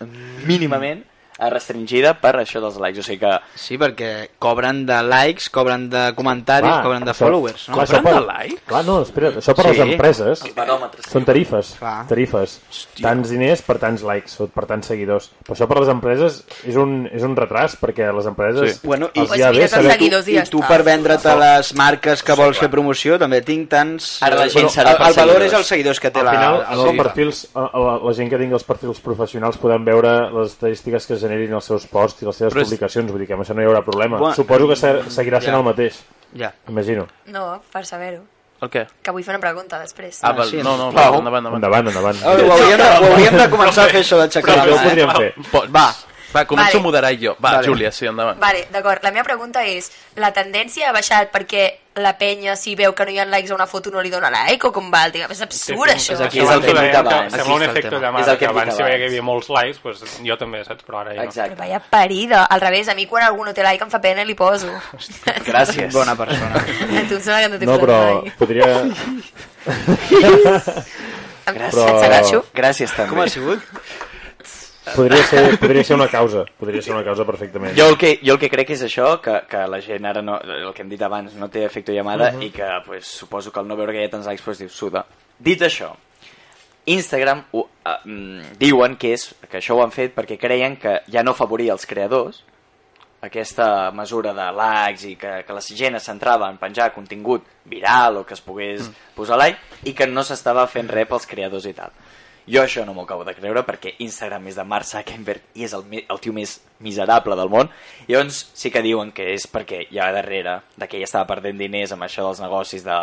Speaker 13: mínimament eh, restringida per això dels likes o sigui que
Speaker 3: Sí, perquè cobren de likes, cobren de comentaris,
Speaker 2: Clar,
Speaker 3: cobren de
Speaker 2: això-
Speaker 3: followers. No?
Speaker 2: clar, això per- Clar, no, espera, això per
Speaker 3: Sí.
Speaker 2: les empreses
Speaker 3: Els baròmetres.
Speaker 2: són tarifes,
Speaker 3: Clar.
Speaker 2: tarifes. Tants diners per tants likes o per tants seguidors. Però això per les empreses és un, és un retras, perquè les empreses...
Speaker 3: Bueno, i,
Speaker 2: els hi ha bé saber-
Speaker 3: i, tu per vendre't a les marques que vols fer promoció també tinc tants...
Speaker 13: Ara la gent
Speaker 3: Bueno,
Speaker 13: serà
Speaker 3: el,
Speaker 13: per
Speaker 3: el valor
Speaker 13: seguidors.
Speaker 3: és els seguidors que té
Speaker 2: Al
Speaker 3: la...
Speaker 2: final, en
Speaker 3: la,
Speaker 2: els perfils, a- a la, la gent que tingui els perfils professionals podran veure les estadístiques que generin els seus posts i les seves
Speaker 3: Però és-
Speaker 2: publicacions, vull dir que amb això no hi haurà problema.
Speaker 3: Bueno,
Speaker 2: Suposo que se- seguirà sent
Speaker 3: ja.
Speaker 2: el mateix.
Speaker 3: Ja.
Speaker 2: Imagino.
Speaker 14: No, per saber-ho.
Speaker 4: El què?
Speaker 14: Que vull fer una pregunta després.
Speaker 4: Ah, val, no, no,
Speaker 2: Pau.
Speaker 4: endavant, endavant.
Speaker 2: Endavant, endavant.
Speaker 3: Ah, ho, hauríem de, ho hauríem de començar a fer això d'aixecar
Speaker 2: Però
Speaker 3: la
Speaker 2: això ho
Speaker 3: mà, eh?
Speaker 2: podríem fer.
Speaker 4: Va, va, començo
Speaker 14: Vale.
Speaker 4: a moderar jo. Va,
Speaker 3: Vale.
Speaker 4: Júlia, sí, endavant.
Speaker 14: Vale, d'acord. La meva pregunta és, la tendència ha baixat perquè la penya, si veu que no hi ha likes a una foto, no li dona like o com va? Digue, és absurd,
Speaker 6: Sí,
Speaker 14: això.
Speaker 6: sí,
Speaker 13: és el que hem
Speaker 6: dèiem
Speaker 13: dit abans. Aquí
Speaker 6: eh? Sembla un
Speaker 13: està el
Speaker 6: efecte
Speaker 13: tema.
Speaker 6: llamada,
Speaker 13: És el que
Speaker 6: que
Speaker 13: hem dit
Speaker 6: abans si veia que hi
Speaker 13: abans.
Speaker 6: havia molts likes, doncs jo també, saps? Però ara ja no.
Speaker 14: Però vaya parida. Al revés, a mi quan algú no té like em fa pena i li poso.
Speaker 13: gràcies
Speaker 3: Bona persona.
Speaker 14: A tu em sembla que no té
Speaker 2: No, però podria...
Speaker 13: gràcies, gràcies també
Speaker 3: Com ha sigut?
Speaker 2: Podria ser, podria ser una causa. Podria ser una causa perfectament.
Speaker 13: Jo el, que, jo el que crec és això, que, que la gent ara, no, el que hem dit abans, no té efecte llamada
Speaker 2: Mhm.
Speaker 13: i que pues, suposo que al no veure que hi ha tants likes pues, diu suda. Dit això, Instagram ho, eh, mm, diuen que, és, que això ho han fet perquè creien que ja no favoria els creadors aquesta mesura de likes i que, que la gent es centrava en penjar contingut viral o que es pogués
Speaker 4: Mm.
Speaker 13: posar like i que no s'estava fent res pels creadors i tal. Jo això no m'ho acabo de creure perquè Instagram és de Mark Zuckerberg i és el, mi- el tio més miserable del món. Llavors sí que diuen que és perquè hi ha darrere de que ell estava perdent diners amb això dels negocis de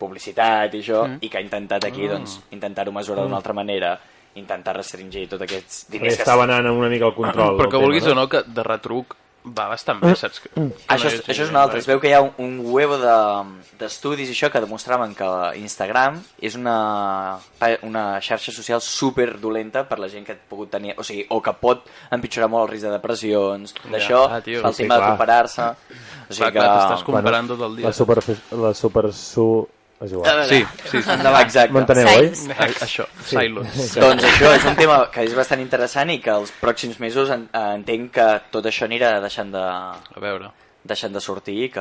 Speaker 13: publicitat i això
Speaker 4: Mm.
Speaker 13: i que ha intentat aquí
Speaker 4: Ah.
Speaker 13: doncs, intentar-ho mesurar
Speaker 4: Mm.
Speaker 13: d'una altra manera anera, intentar restringir tots aquests
Speaker 2: Perquè
Speaker 13: diners que
Speaker 2: estava anant una mica al control.
Speaker 4: Però
Speaker 2: del
Speaker 4: que
Speaker 2: tema,
Speaker 4: vulguis o no, que de retruc va bastant bé, saps? Que...
Speaker 13: Mm. Això, és, això és un altre. Es veu que hi ha un, un huevo de- d'estudis i això que demostraven que Instagram és una, pa- una xarxa social super dolenta per la gent que ha pogut tenir... O sigui, o que pot empitjorar molt el risc de depressions, d'això,
Speaker 4: ah, tio.
Speaker 13: el
Speaker 4: Sí,
Speaker 13: tema de
Speaker 4: clar.
Speaker 13: comparar-se... O sigui
Speaker 4: Clar,
Speaker 13: que...
Speaker 4: clar, t'estàs comparant tot el dia.
Speaker 2: La super... La super su...
Speaker 13: A
Speaker 2: És igual.
Speaker 13: veure. Sí, sí, sí. Endavant. Exacte.
Speaker 2: M'enteneu, oi?
Speaker 13: Silence.
Speaker 4: A- això, silence.
Speaker 13: Doncs això és un tema que és bastant interessant i que els pròxims mesos en, entenc que tot això anirà deixant de...
Speaker 4: A veure.
Speaker 13: Deixant de sortir i que...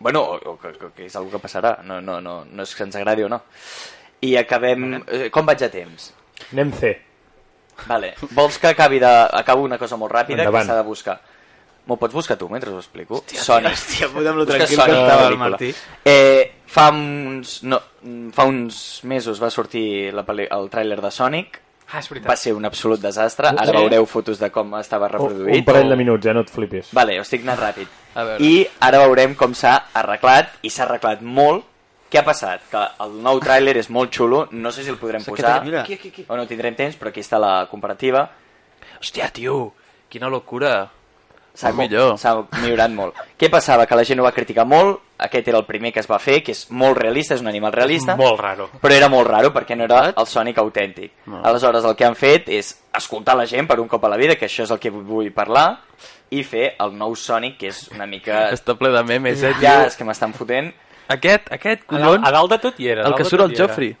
Speaker 13: Bueno, o, o que, que, que és una que passarà. No, no, no, no és que ens agradi o no. I acabem... eh, Com vaig a temps?
Speaker 2: Anem C.
Speaker 13: Vale. Vols que acabi de... Acabo una cosa molt ràpida
Speaker 2: Endavant.
Speaker 13: que s'ha de buscar. M'ho pots buscar tu mentre ho explico? Hòstia,
Speaker 3: tio, hòstia puta, amb lo tranquil que estava el Martí.
Speaker 13: Eh, fa, uns, no, mm, fa uns mesos va sortir la, pel·li- el tràiler de Sonic.
Speaker 6: Ah, és veritat.
Speaker 13: Va ser un absolut desastre.
Speaker 2: Sí.
Speaker 13: Ara veureu fotos de com estava reproduït.
Speaker 2: Eh, Un parell de minuts, eh? No et flipis.
Speaker 13: Vale, ho estic anant ràpid.
Speaker 2: A veure.
Speaker 13: I ara veurem com s'ha arreglat, i s'ha arreglat molt. Què ha passat? Que el nou tràiler és molt xulo, no sé si el podrem
Speaker 4: Saps què
Speaker 13: posar,
Speaker 4: tenim? Mira. Aquí,
Speaker 13: o no tindrem temps, però aquí està la comparativa.
Speaker 4: Hòstia, tio, quina locura.
Speaker 13: S'ha
Speaker 4: Molt
Speaker 13: mo-
Speaker 4: millor.
Speaker 13: S'ha millorat molt. Què passava? Que la gent ho va criticar molt, aquest era el primer que es va fer, que és molt realista, és un animal realista.
Speaker 6: Mm, Molt raro.
Speaker 13: Però era molt raro perquè no era el Sonic autèntic.
Speaker 6: No.
Speaker 13: Aleshores el que han fet és escoltar la gent per un cop a la vida, que això és el que vull parlar, i fer el nou Sonic, que és una mica...
Speaker 4: Està ple de memes, eh,
Speaker 13: Ja,
Speaker 4: tio.
Speaker 13: és que m'estan fotent.
Speaker 4: Aquest, aquest, collons.
Speaker 13: A dalt de tot hi era.
Speaker 4: El que surt al Joffrey.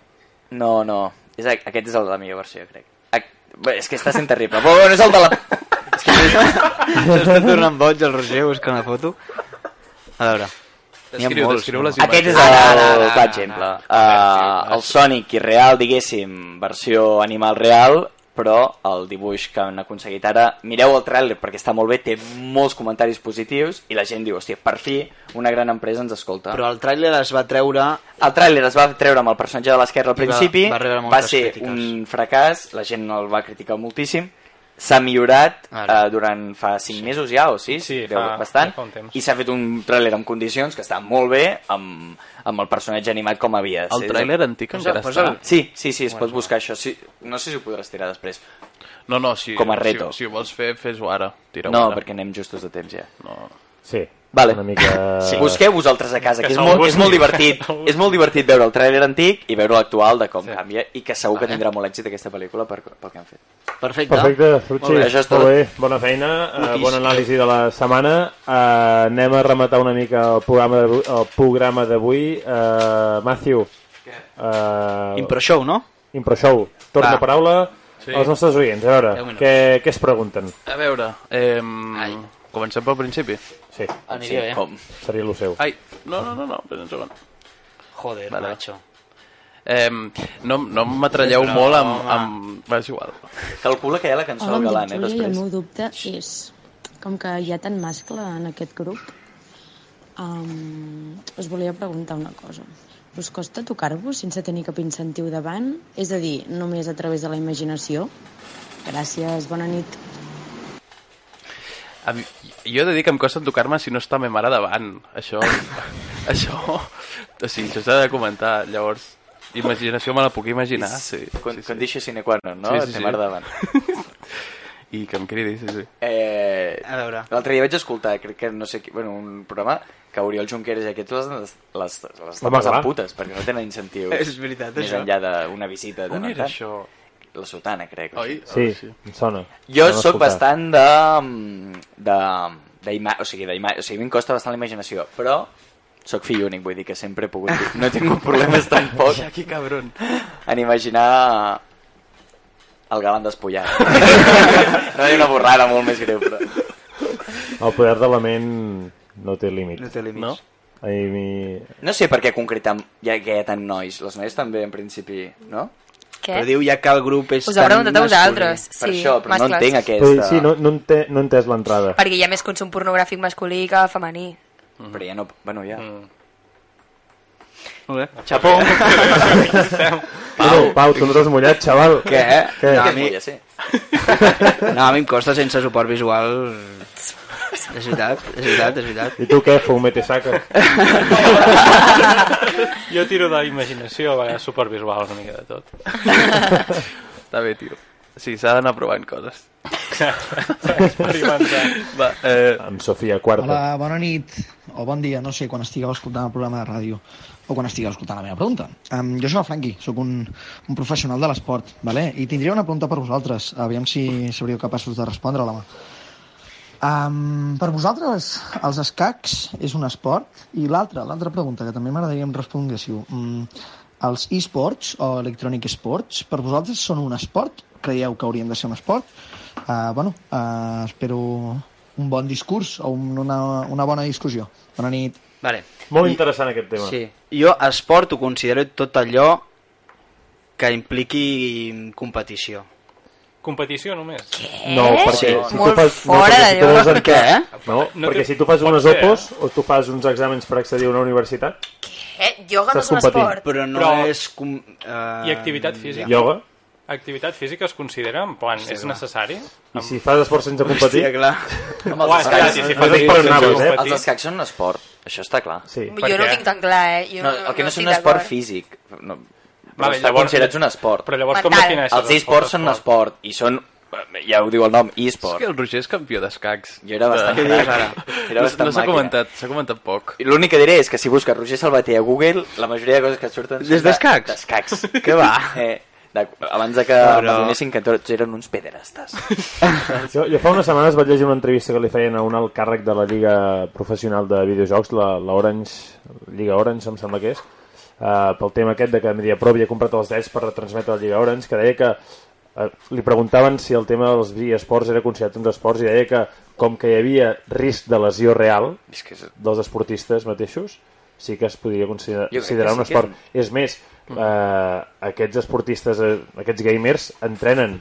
Speaker 13: No, no. És, a- aquest és el de la millor versió, crec. A, bé, és que està sent terrible. Però bueno, és el de la...
Speaker 3: S'està tornant boig el Roger buscant la foto. A veure. N'hi ha
Speaker 13: Descriu-
Speaker 3: molts,
Speaker 13: descriu
Speaker 3: Ah, no?
Speaker 13: les imatges. Aquest és el- l'exemple. Eh, el Sonic irreal, diguéssim, versió animal real, però el dibuix que han aconseguit ara... Mireu el tràiler perquè està molt bé, té molts comentaris positius i la gent diu, hòstia, per fi una gran empresa ens escolta.
Speaker 3: Però el tràiler es va treure...
Speaker 13: El tràiler es va treure amb el personatge de l'esquerra al
Speaker 3: I va-
Speaker 13: principi,
Speaker 3: va rebre
Speaker 13: va
Speaker 3: moltes
Speaker 13: ser
Speaker 3: crítiques.
Speaker 13: un fracàs, la gent el va criticar moltíssim, s'ha millorat eh, durant fa 5 mesos ja, o 6, sí, deu,
Speaker 6: fa-
Speaker 13: bastant,
Speaker 6: fa un temps.
Speaker 13: i s'ha fet un tràiler amb condicions que està molt bé amb, amb el personatge animat com havia de
Speaker 4: El
Speaker 13: ser.
Speaker 4: tràiler antic
Speaker 13: Posa-
Speaker 4: encara
Speaker 13: posa-
Speaker 4: està?
Speaker 13: Sí, sí, sí, es pot buscar això. Sí, no sé si ho podràs tirar després.
Speaker 4: No, no, si,
Speaker 13: Com a reto.
Speaker 4: Si, si ho vols fer, fes-ho ara. Tira-ho
Speaker 13: No,
Speaker 4: ara.
Speaker 13: perquè anem justos de temps ja.
Speaker 4: No.
Speaker 2: Sí.
Speaker 13: Vale.
Speaker 2: Una mica...
Speaker 13: Sí. Busqueu vosaltres a casa, que,
Speaker 2: Que
Speaker 13: és,
Speaker 2: se'l
Speaker 13: molt, és
Speaker 2: busqui.
Speaker 13: molt divertit. és molt divertit veure el tràiler antic i veure l'actual de com sí. canvia i que segur que tindrà molt èxit aquesta pel·lícula per, pel que han fet.
Speaker 3: Perfecte.
Speaker 2: Perfecte, Fruitsi.
Speaker 13: Molt bé, això és tot.
Speaker 2: Molt bé, bona feina, eh,
Speaker 13: Maquís.
Speaker 2: bona anàlisi de la setmana. Eh, anem a rematar una mica el programa d'avui- el programa d'avui. Eh, Matthew. Eh,
Speaker 3: Improshow, no?
Speaker 2: Improshow. Torna
Speaker 4: Va.
Speaker 2: paraula
Speaker 4: Sí.
Speaker 2: als nostres oients. A
Speaker 4: Deu
Speaker 2: veure,
Speaker 4: minuts.
Speaker 2: què, què es pregunten?
Speaker 4: A veure, eh, comencem pel principi?
Speaker 2: Sí.
Speaker 4: Aniria
Speaker 2: Sí,
Speaker 4: bé.
Speaker 2: com? Seria lo seu.
Speaker 4: Ai, no, no, no, no, espera un segon.
Speaker 3: Joder,
Speaker 4: vale.
Speaker 3: macho.
Speaker 4: Eh, no no m'atralleu
Speaker 13: Però,
Speaker 4: molt amb...
Speaker 13: home.
Speaker 4: amb... Va, és igual.
Speaker 13: Calcula que hi ha la cançó eh,
Speaker 15: Hola, em dic Júlia i el meu dubte és, com que hi ha tant mascle en aquest grup, um, us volia preguntar una cosa. Us costa tocar-vos sense tenir cap incentiu davant? És a dir, només a través de la imaginació? Gràcies, bona nit.
Speaker 4: A mi, jo he de dir que em costa tocar-me si no està ma mare davant. Això... això... O sigui, això s'ha de comentar. Llavors, imaginació me la puc imaginar, sí.
Speaker 13: Con, sí, sí. Condició sine qua non, no?
Speaker 4: Sí, sí,
Speaker 13: Té
Speaker 4: sí.
Speaker 13: mar davant.
Speaker 4: I que em cridi, sí, sí.
Speaker 13: Eh,
Speaker 3: a veure.
Speaker 13: L'altre dia vaig escoltar, crec que no sé qui, bueno, un programa que Oriol Junqueras i aquests les, les, les, les,
Speaker 2: Home,
Speaker 13: les
Speaker 2: clar.
Speaker 13: putes, perquè no tenen incentius.
Speaker 2: És veritat,
Speaker 13: més
Speaker 2: això.
Speaker 13: enllà d'una visita. de
Speaker 2: On
Speaker 13: tant en
Speaker 2: era
Speaker 13: tant. La sotana, crec. o així.
Speaker 2: Sí, em sona.
Speaker 13: Jo
Speaker 2: Anem a
Speaker 13: sóc
Speaker 2: escoltar.
Speaker 13: bastant de... de d'ima- o sigui, d'ima- o sigui, a mi em costa bastant la imaginació, però sóc fill únic, vull dir que sempre he pogut... dir- No tinc problemes tampoc
Speaker 4: Ja, que cabron.
Speaker 13: en imaginar el galant despullat. no era una borrada molt més greu, però...
Speaker 2: El poder de la ment no té límit.
Speaker 13: No té límits. No?
Speaker 2: Ai, mi...
Speaker 13: No sé per què concretar ja que hi ha tant nois. Les noies també, en principi, no?
Speaker 14: Què?
Speaker 3: Però diu ja que el grup és
Speaker 14: Us ho ha preguntat a
Speaker 3: masculí.
Speaker 14: vosaltres,
Speaker 13: Per
Speaker 14: sí,
Speaker 13: això, però no
Speaker 14: mascles.
Speaker 13: entenc eh,
Speaker 2: Sí,
Speaker 13: aquesta...
Speaker 2: sí, no, no, ente, no he entès l'entrada.
Speaker 14: Perquè hi ha més consum pornogràfic masculí que femení.
Speaker 13: Però ja no... Bueno, ja... Mm.
Speaker 3: Molt bé.
Speaker 13: Chapó.
Speaker 2: Pau, Pau, tu no t'has mullat, xaval.
Speaker 3: Què?
Speaker 2: Què?
Speaker 3: No, a mi... no, a mi em costa sense suport visual... És veritat, és veritat, és veritat.
Speaker 2: I tu què, fumete saca?
Speaker 6: Jo tiro de imaginació, a vegades supervisual una mica de tot.
Speaker 4: Està bé, tio. Sí, s'ha d'anar provant coses.
Speaker 6: Experimentant.
Speaker 4: Va, eh...
Speaker 2: Amb Sofia Quarta.
Speaker 16: Hola, bona nit, o bon dia, no sé, quan estigueu escoltant el programa de ràdio o quan estigueu escoltant la meva pregunta. Um, jo sóc el Franqui, sóc un, un professional de l'esport, vale? i tindria una pregunta per vosaltres, aviam si seríeu capaços de respondre-la. Um, per vosaltres, els escacs és un esport? I l'altra, l'altra pregunta que també m'agradaria em respondéssiu. Mm, els e-sports o electronic sports, per vosaltres són un esport? Creieu que haurien de ser un esport? Uh, bueno, uh, espero un bon discurs o un, una, una bona discussió. Bona nit.
Speaker 3: Vale.
Speaker 2: Molt
Speaker 3: I-
Speaker 2: interessant aquest tema.
Speaker 3: Sí. Jo esport ho considero tot allò que impliqui competició.
Speaker 6: Competició només. Què?
Speaker 2: No, perquè si tu fas, no, perquè si tu fas en què?
Speaker 3: eh?
Speaker 2: No, Oh, perquè si tu fas unes opos o tu fas uns exàmens per accedir a una universitat,
Speaker 5: Eh, yoga no
Speaker 2: Estàs
Speaker 5: és un
Speaker 2: competint.
Speaker 5: esport.
Speaker 2: Però
Speaker 6: no Però-
Speaker 3: és... Com, uh,
Speaker 6: I activitat física?
Speaker 2: Ioga?
Speaker 6: Activitat física es considera, en plan, és necessari?
Speaker 2: i si fas esport sense competir...
Speaker 3: Hòstia, clar.
Speaker 13: Amb els
Speaker 6: Uah, és que
Speaker 13: escacs,
Speaker 6: si- si
Speaker 13: eh?
Speaker 6: fas esport sense competir-
Speaker 13: Els escacs són un esport, això està clar.
Speaker 2: Sí.
Speaker 5: Jo no ho tinc tan clar, eh? Jo
Speaker 13: No, el que no és
Speaker 5: estic
Speaker 13: un esport
Speaker 5: d'acord.
Speaker 13: físic. No,
Speaker 5: Vale,
Speaker 13: vale, està
Speaker 5: llavors-
Speaker 13: considerats un esport.
Speaker 6: Però
Speaker 5: llavors com Mental. defineixes
Speaker 13: Els esports són un esport i són, ja ho diu el nom, e-sport.
Speaker 4: És que el Roger és campió d'escacs.
Speaker 13: Jo era bastant
Speaker 4: De-
Speaker 13: crac. Era
Speaker 4: No-
Speaker 13: bastant
Speaker 4: no s'ha
Speaker 13: màquina.
Speaker 4: comentat, s'ha comentat poc.
Speaker 13: I L'únic que diré és que si busques Roger Salvater a Google, la majoria de coses que et surten... són
Speaker 4: Des
Speaker 13: de-
Speaker 4: d'escacs?
Speaker 13: D'escacs.
Speaker 4: Que va.
Speaker 13: Eh, de, abans de que
Speaker 2: Però-
Speaker 13: Però... m'adonessin que tots eren uns pederastes.
Speaker 2: Jo, jo fa unes setmanes vaig llegir una entrevista que li feien a un alt càrrec de la Lliga Professional de Videojocs, la, la Orange, Lliga Orange, em sembla que és, uh, pel tema aquest de que Mediapro havia comprat els drets per retransmetre la Lliga Orange, que deia que uh, li preguntaven si el tema dels esports era considerat uns esports i deia que com que hi havia risc de lesió real dels esportistes mateixos, sí que es podia considerar,
Speaker 13: crec que
Speaker 2: considerar un
Speaker 13: sí que és
Speaker 2: esport. És més, eh, aquests esportistes, eh, aquests gamers, entrenen.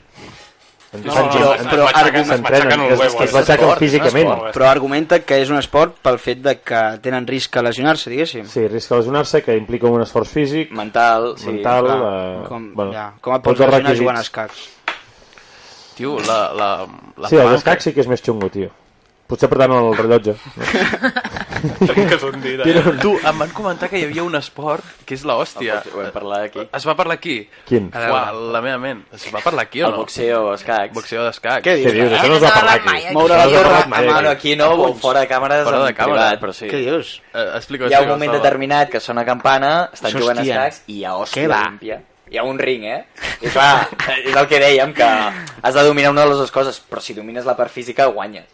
Speaker 3: No, no, no, es- es matxaquen- es matxaquen el
Speaker 2: s'entrenen, es, es,
Speaker 3: huevo,
Speaker 2: es
Speaker 3: eh?
Speaker 2: matxaquen físicament.
Speaker 3: Però argumenta que és un esport pel fet de que tenen risc a lesionar-se, diguéssim.
Speaker 2: Sí, risc de lesionar-se, que implica un esforç físic,
Speaker 13: mental,
Speaker 3: sí,
Speaker 2: mental
Speaker 3: clar.
Speaker 2: eh,
Speaker 3: Com-
Speaker 2: bueno,
Speaker 3: ja, com et pots
Speaker 2: tots els
Speaker 3: lesionar
Speaker 2: requisits.
Speaker 3: jugant a escacs?
Speaker 4: Tio, la... la, la
Speaker 2: Sí, el
Speaker 4: palanca-
Speaker 2: d'escac sí que és més xungo, tio. Potser per tant el rellotge.
Speaker 4: Trenques un dit, eh?
Speaker 2: Tira una-
Speaker 4: Tu, em van comentar que hi havia un esport que és l'hòstia.
Speaker 13: Ho vam parlar Ah, aquí.
Speaker 4: Es va parlar aquí?
Speaker 2: Quin?
Speaker 4: A veure. Uà, la meva ment. Es va parlar aquí o
Speaker 13: El
Speaker 4: no?
Speaker 13: boxeo d'escacs.
Speaker 4: Boxeo d'escacs.
Speaker 13: Què dius? Què dius? Això no es va parlar aquí.
Speaker 4: Moure la torre.
Speaker 3: Eh,
Speaker 13: Bueno, aquí no, o fora de càmeres,
Speaker 4: Fora de
Speaker 13: en
Speaker 4: càmera.
Speaker 13: privat, però sí.
Speaker 4: Què dius? Eh, explica,
Speaker 13: Hi ha un
Speaker 4: explica,
Speaker 13: moment
Speaker 4: Salva.
Speaker 13: determinat que sona campana, estan
Speaker 4: Això,
Speaker 13: jugant a
Speaker 4: hòstia.
Speaker 13: escacs i hi ha hòstia
Speaker 4: Què va?
Speaker 13: límpia. Hi ha un ring, eh? I clar, és el que dèiem, que has de dominar una de les dues coses, però si domines la part física, guanyes.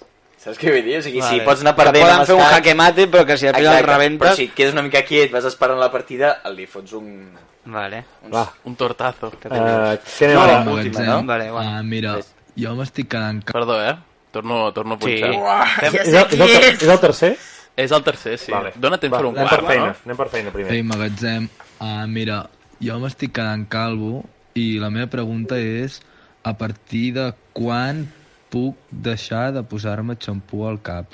Speaker 13: Saps què vull dir? O sigui, si
Speaker 3: Vale.
Speaker 13: pots anar
Speaker 3: Que
Speaker 13: perdent...
Speaker 3: poden
Speaker 13: amb
Speaker 3: fer un
Speaker 13: escacs-
Speaker 3: jaque mate, però que si després el rebentes-
Speaker 13: Però si et quedes una mica quiet, vas esperant la partida, li fots un...
Speaker 3: Vale.
Speaker 2: Va.
Speaker 4: Un tortazo.
Speaker 2: Eh, què anem ara?
Speaker 3: Vale, bueno.
Speaker 17: Ah, mira, jo m'estic quedant...
Speaker 4: Perdó, eh? Torno, torno a punxar.
Speaker 2: Sí.
Speaker 4: Uah,
Speaker 2: És, és, el, és, el, ter- és el tercer?
Speaker 4: És el tercer, sí. Vale. Dóna temps
Speaker 2: Va,
Speaker 4: per un
Speaker 2: anem
Speaker 4: quart,
Speaker 2: per feina,
Speaker 4: no?
Speaker 2: anem per feina primer.
Speaker 17: Ei, magatzem. Ah, mira, jo m'estic quedant calvo i la meva pregunta és a partir de quan puc deixar de posar-me xampú al cap?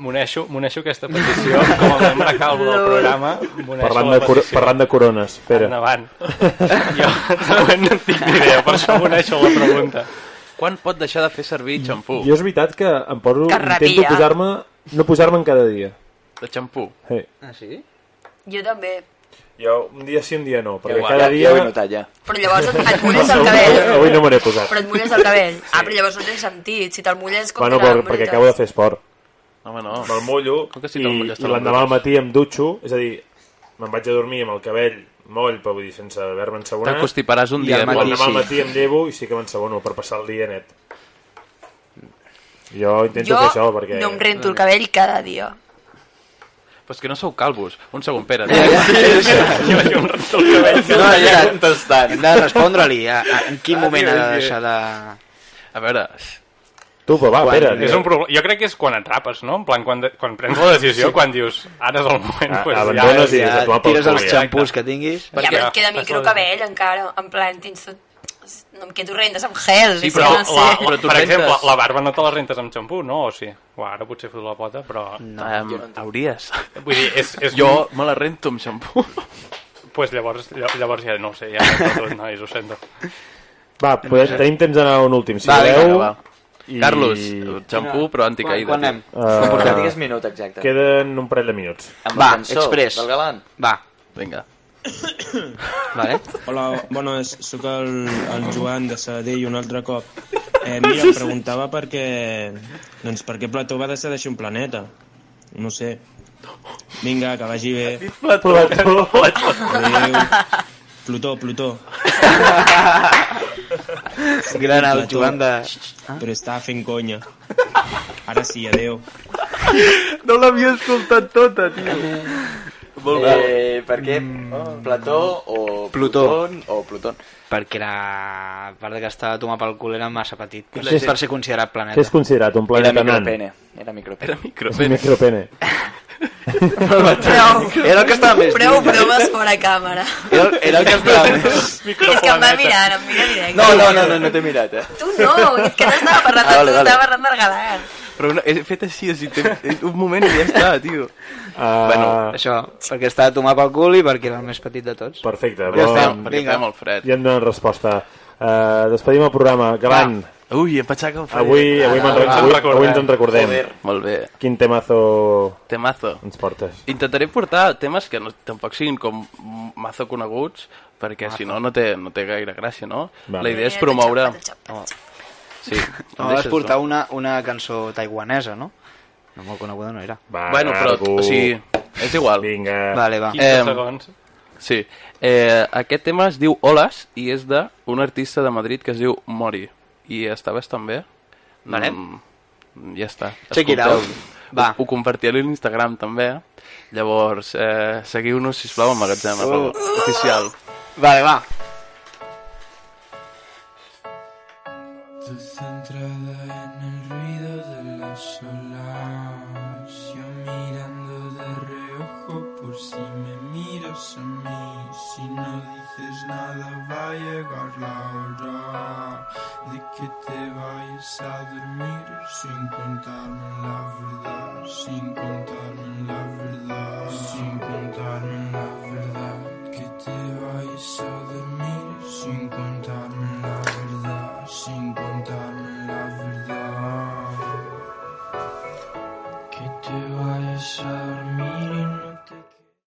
Speaker 6: M'uneixo, m'uneixo aquesta petició com a membre calvo del programa. m'uneixo
Speaker 2: Parlant
Speaker 6: a la
Speaker 2: de, cor
Speaker 6: petició.
Speaker 2: parlant de corones, espera.
Speaker 6: Endavant. Jo segurament no en tinc ni idea, per això m'uneixo a la pregunta.
Speaker 4: Quan pot deixar de fer servir xampú?
Speaker 2: Jo és veritat que em poso...
Speaker 5: Que
Speaker 2: intento
Speaker 5: rabia.
Speaker 2: posar-me... No posar-me'n cada dia.
Speaker 4: De xampú?
Speaker 2: Sí.
Speaker 3: Ah, sí?
Speaker 5: Jo també.
Speaker 2: Jo un dia sí, un dia no, perquè
Speaker 13: Ja,
Speaker 2: cada
Speaker 13: ja,
Speaker 2: dia...
Speaker 13: ja ho he notat, ja.
Speaker 5: Però llavors et, et mulles el cabell.
Speaker 2: Avui no me n'he posat.
Speaker 5: Però et mulles el cabell. Ah, però llavors no té sentit. Si te'l mulles, com
Speaker 2: Bueno,
Speaker 5: que
Speaker 2: però, perquè acabo de fer esport.
Speaker 4: Home, no.
Speaker 2: Me'l mullo
Speaker 4: Com que si
Speaker 2: i,
Speaker 4: te'l mulles,
Speaker 2: i
Speaker 4: te'l
Speaker 2: l'endemà al
Speaker 4: mulles.
Speaker 2: matí em dutxo, és a dir, me'n vaig a dormir amb el cabell moll, però vull dir, sense haver-me ensabonat.
Speaker 4: T'acostiparàs un
Speaker 2: I
Speaker 4: dia,
Speaker 2: al
Speaker 4: però
Speaker 2: matí
Speaker 4: l'endemà
Speaker 2: sí.
Speaker 4: al
Speaker 2: al
Speaker 4: matí
Speaker 2: matí em llevo i sí que m'ensabono per passar el dia net. Jo intento
Speaker 5: Jo
Speaker 2: fer això perquè...
Speaker 5: no em rento el cabell cada dia.
Speaker 4: Però és que no sou calvos. Un segon, Pere.
Speaker 3: No, ja, Ah, hem de respondre-li. a- a- En quin moment ha de deixar de...
Speaker 4: A veure...
Speaker 2: Tu, però va,
Speaker 6: Quan-
Speaker 2: espera.
Speaker 6: és un problema. Jo crec que és quan et rapes, no? En plan, quan, de, quan prens la decisió,
Speaker 2: Sí.
Speaker 6: quan dius, ara és el moment.
Speaker 2: A-
Speaker 6: pues, ja
Speaker 2: abandones
Speaker 6: és-
Speaker 2: i dius, a tomar pel
Speaker 6: tires
Speaker 2: cul,
Speaker 6: els
Speaker 2: ja.
Speaker 6: xampús que tinguis.
Speaker 5: Ja, però et queda microcabell encara. En plan, tens tot... No em quedo rentes amb gel.
Speaker 6: Sí,
Speaker 5: és
Speaker 6: però,
Speaker 5: que
Speaker 6: la,
Speaker 5: no sé.
Speaker 6: però per exemple, la barba no te la rentes amb xampú, no? O sí? Uà, ara potser foto la pota, però...
Speaker 4: No, um, hauries.
Speaker 6: Vull dir, és... és
Speaker 4: Jo me la rento amb xampú.
Speaker 6: pues llavors, lla- llavors ja no ho sé, ja no tot, nois, ho sento.
Speaker 2: Va, podem, tenim temps d'anar a un últim, si
Speaker 4: Vale,
Speaker 2: voleu.
Speaker 4: va, va. Carlos, xampú, però anticaïda,
Speaker 13: Quan, quan anem?
Speaker 4: tio.
Speaker 13: Uh...
Speaker 2: Eh,
Speaker 13: Portem 10 minuts, exacte.
Speaker 2: Queden un parell de minuts.
Speaker 13: Amb Va, la cançó express. del Galant.
Speaker 3: Va.
Speaker 4: Vinga.
Speaker 3: Vale.
Speaker 18: Hola, bones, sóc el, el Joan de Sabadell un altre cop. Eh, mira, em preguntava per què... Doncs per què Plató va deixar d'aixer un planeta. No sé. Vinga, que vagi bé.
Speaker 2: Plató. Plató.
Speaker 18: Adéu. Plutó, Plutó.
Speaker 3: Gran el
Speaker 18: Plató.
Speaker 3: Joan de...
Speaker 18: Però estava fent conya. Ara sí, adéu.
Speaker 4: No l'havia escoltat tota, tio.
Speaker 13: Molt bé. Eh, per què?
Speaker 18: Mm.
Speaker 13: Plató o
Speaker 3: Plutó.
Speaker 13: Plutón o Plutón?
Speaker 3: Perquè la part que estava a tomar pel cul era massa petit.
Speaker 2: I la
Speaker 3: Sí,
Speaker 2: gent-
Speaker 3: per ser considerat
Speaker 2: Què
Speaker 3: planeta.
Speaker 2: és considerat? Un planeta nan?
Speaker 13: Era micropene.
Speaker 2: És un micropene.
Speaker 14: Prou.
Speaker 3: Era el que estava més
Speaker 14: Prou
Speaker 3: lluny.
Speaker 14: bromes fora càmera.
Speaker 3: Era, era el que estava més...
Speaker 14: És que em va mirant, em mira directe.
Speaker 7: No, no, no, no, no t'he mirat, eh?
Speaker 14: Tu no, és que no estava parlant de
Speaker 7: Ah,
Speaker 14: tu,
Speaker 7: vale, vale.
Speaker 14: estava parlant del galant.
Speaker 4: Però una, he fet així, així té, un moment i ja està, tio.
Speaker 2: Ah,
Speaker 3: Uh... Bueno, això, perquè està a tomar pel cul i perquè era el més petit de tots.
Speaker 2: Perfecte.
Speaker 3: Ja està,
Speaker 4: perquè
Speaker 3: vinga.
Speaker 4: fa molt fred.
Speaker 2: Ja em donen resposta. Uh, despedim el programa. Gavan,
Speaker 4: Ui, em pensava que em faria...
Speaker 2: Avui- avui me'n- avui- avui ens en recordem.
Speaker 4: Joder. Molt bé.
Speaker 2: quin temazo
Speaker 4: Temazo.
Speaker 2: ens portes?
Speaker 4: Intentaré portar temes que no, tampoc siguin com mazo coneguts, perquè si no, no té, no té gaire gràcia, no?
Speaker 2: Vale.
Speaker 4: La idea és promoure... Oh. Sí,
Speaker 3: No,
Speaker 4: em
Speaker 3: vas
Speaker 4: deixes,
Speaker 3: portar
Speaker 4: no?
Speaker 3: una, una cançó taiwanesa, no? No molt coneguda no era.
Speaker 2: Va,
Speaker 4: Bueno, però, o sigui, és igual.
Speaker 2: Vinga.
Speaker 3: Vale, va.
Speaker 4: 15 segons. Sí. Eh, aquest tema es diu Olas i és d'un artista de Madrid que es diu Mori. I està bastant bé.
Speaker 3: Vale.
Speaker 4: Mm, ja està.
Speaker 3: Check it
Speaker 4: Escolteu.
Speaker 3: out. Va.
Speaker 4: Ho, ho compartiré a l'Instagram també. Llavors, eh, seguiu-nos, sisplau, al magatzem,
Speaker 3: Oh.
Speaker 4: oh. oficial.
Speaker 3: Vale, va.
Speaker 11: Centrada en el ruido de las olas, yo mirando de reojo por si me miras a mí. Si no dices nada va a llegar la hora de que te vayas a dormir sin contarme la verdad, sin contarme
Speaker 13: eh.
Speaker 11: la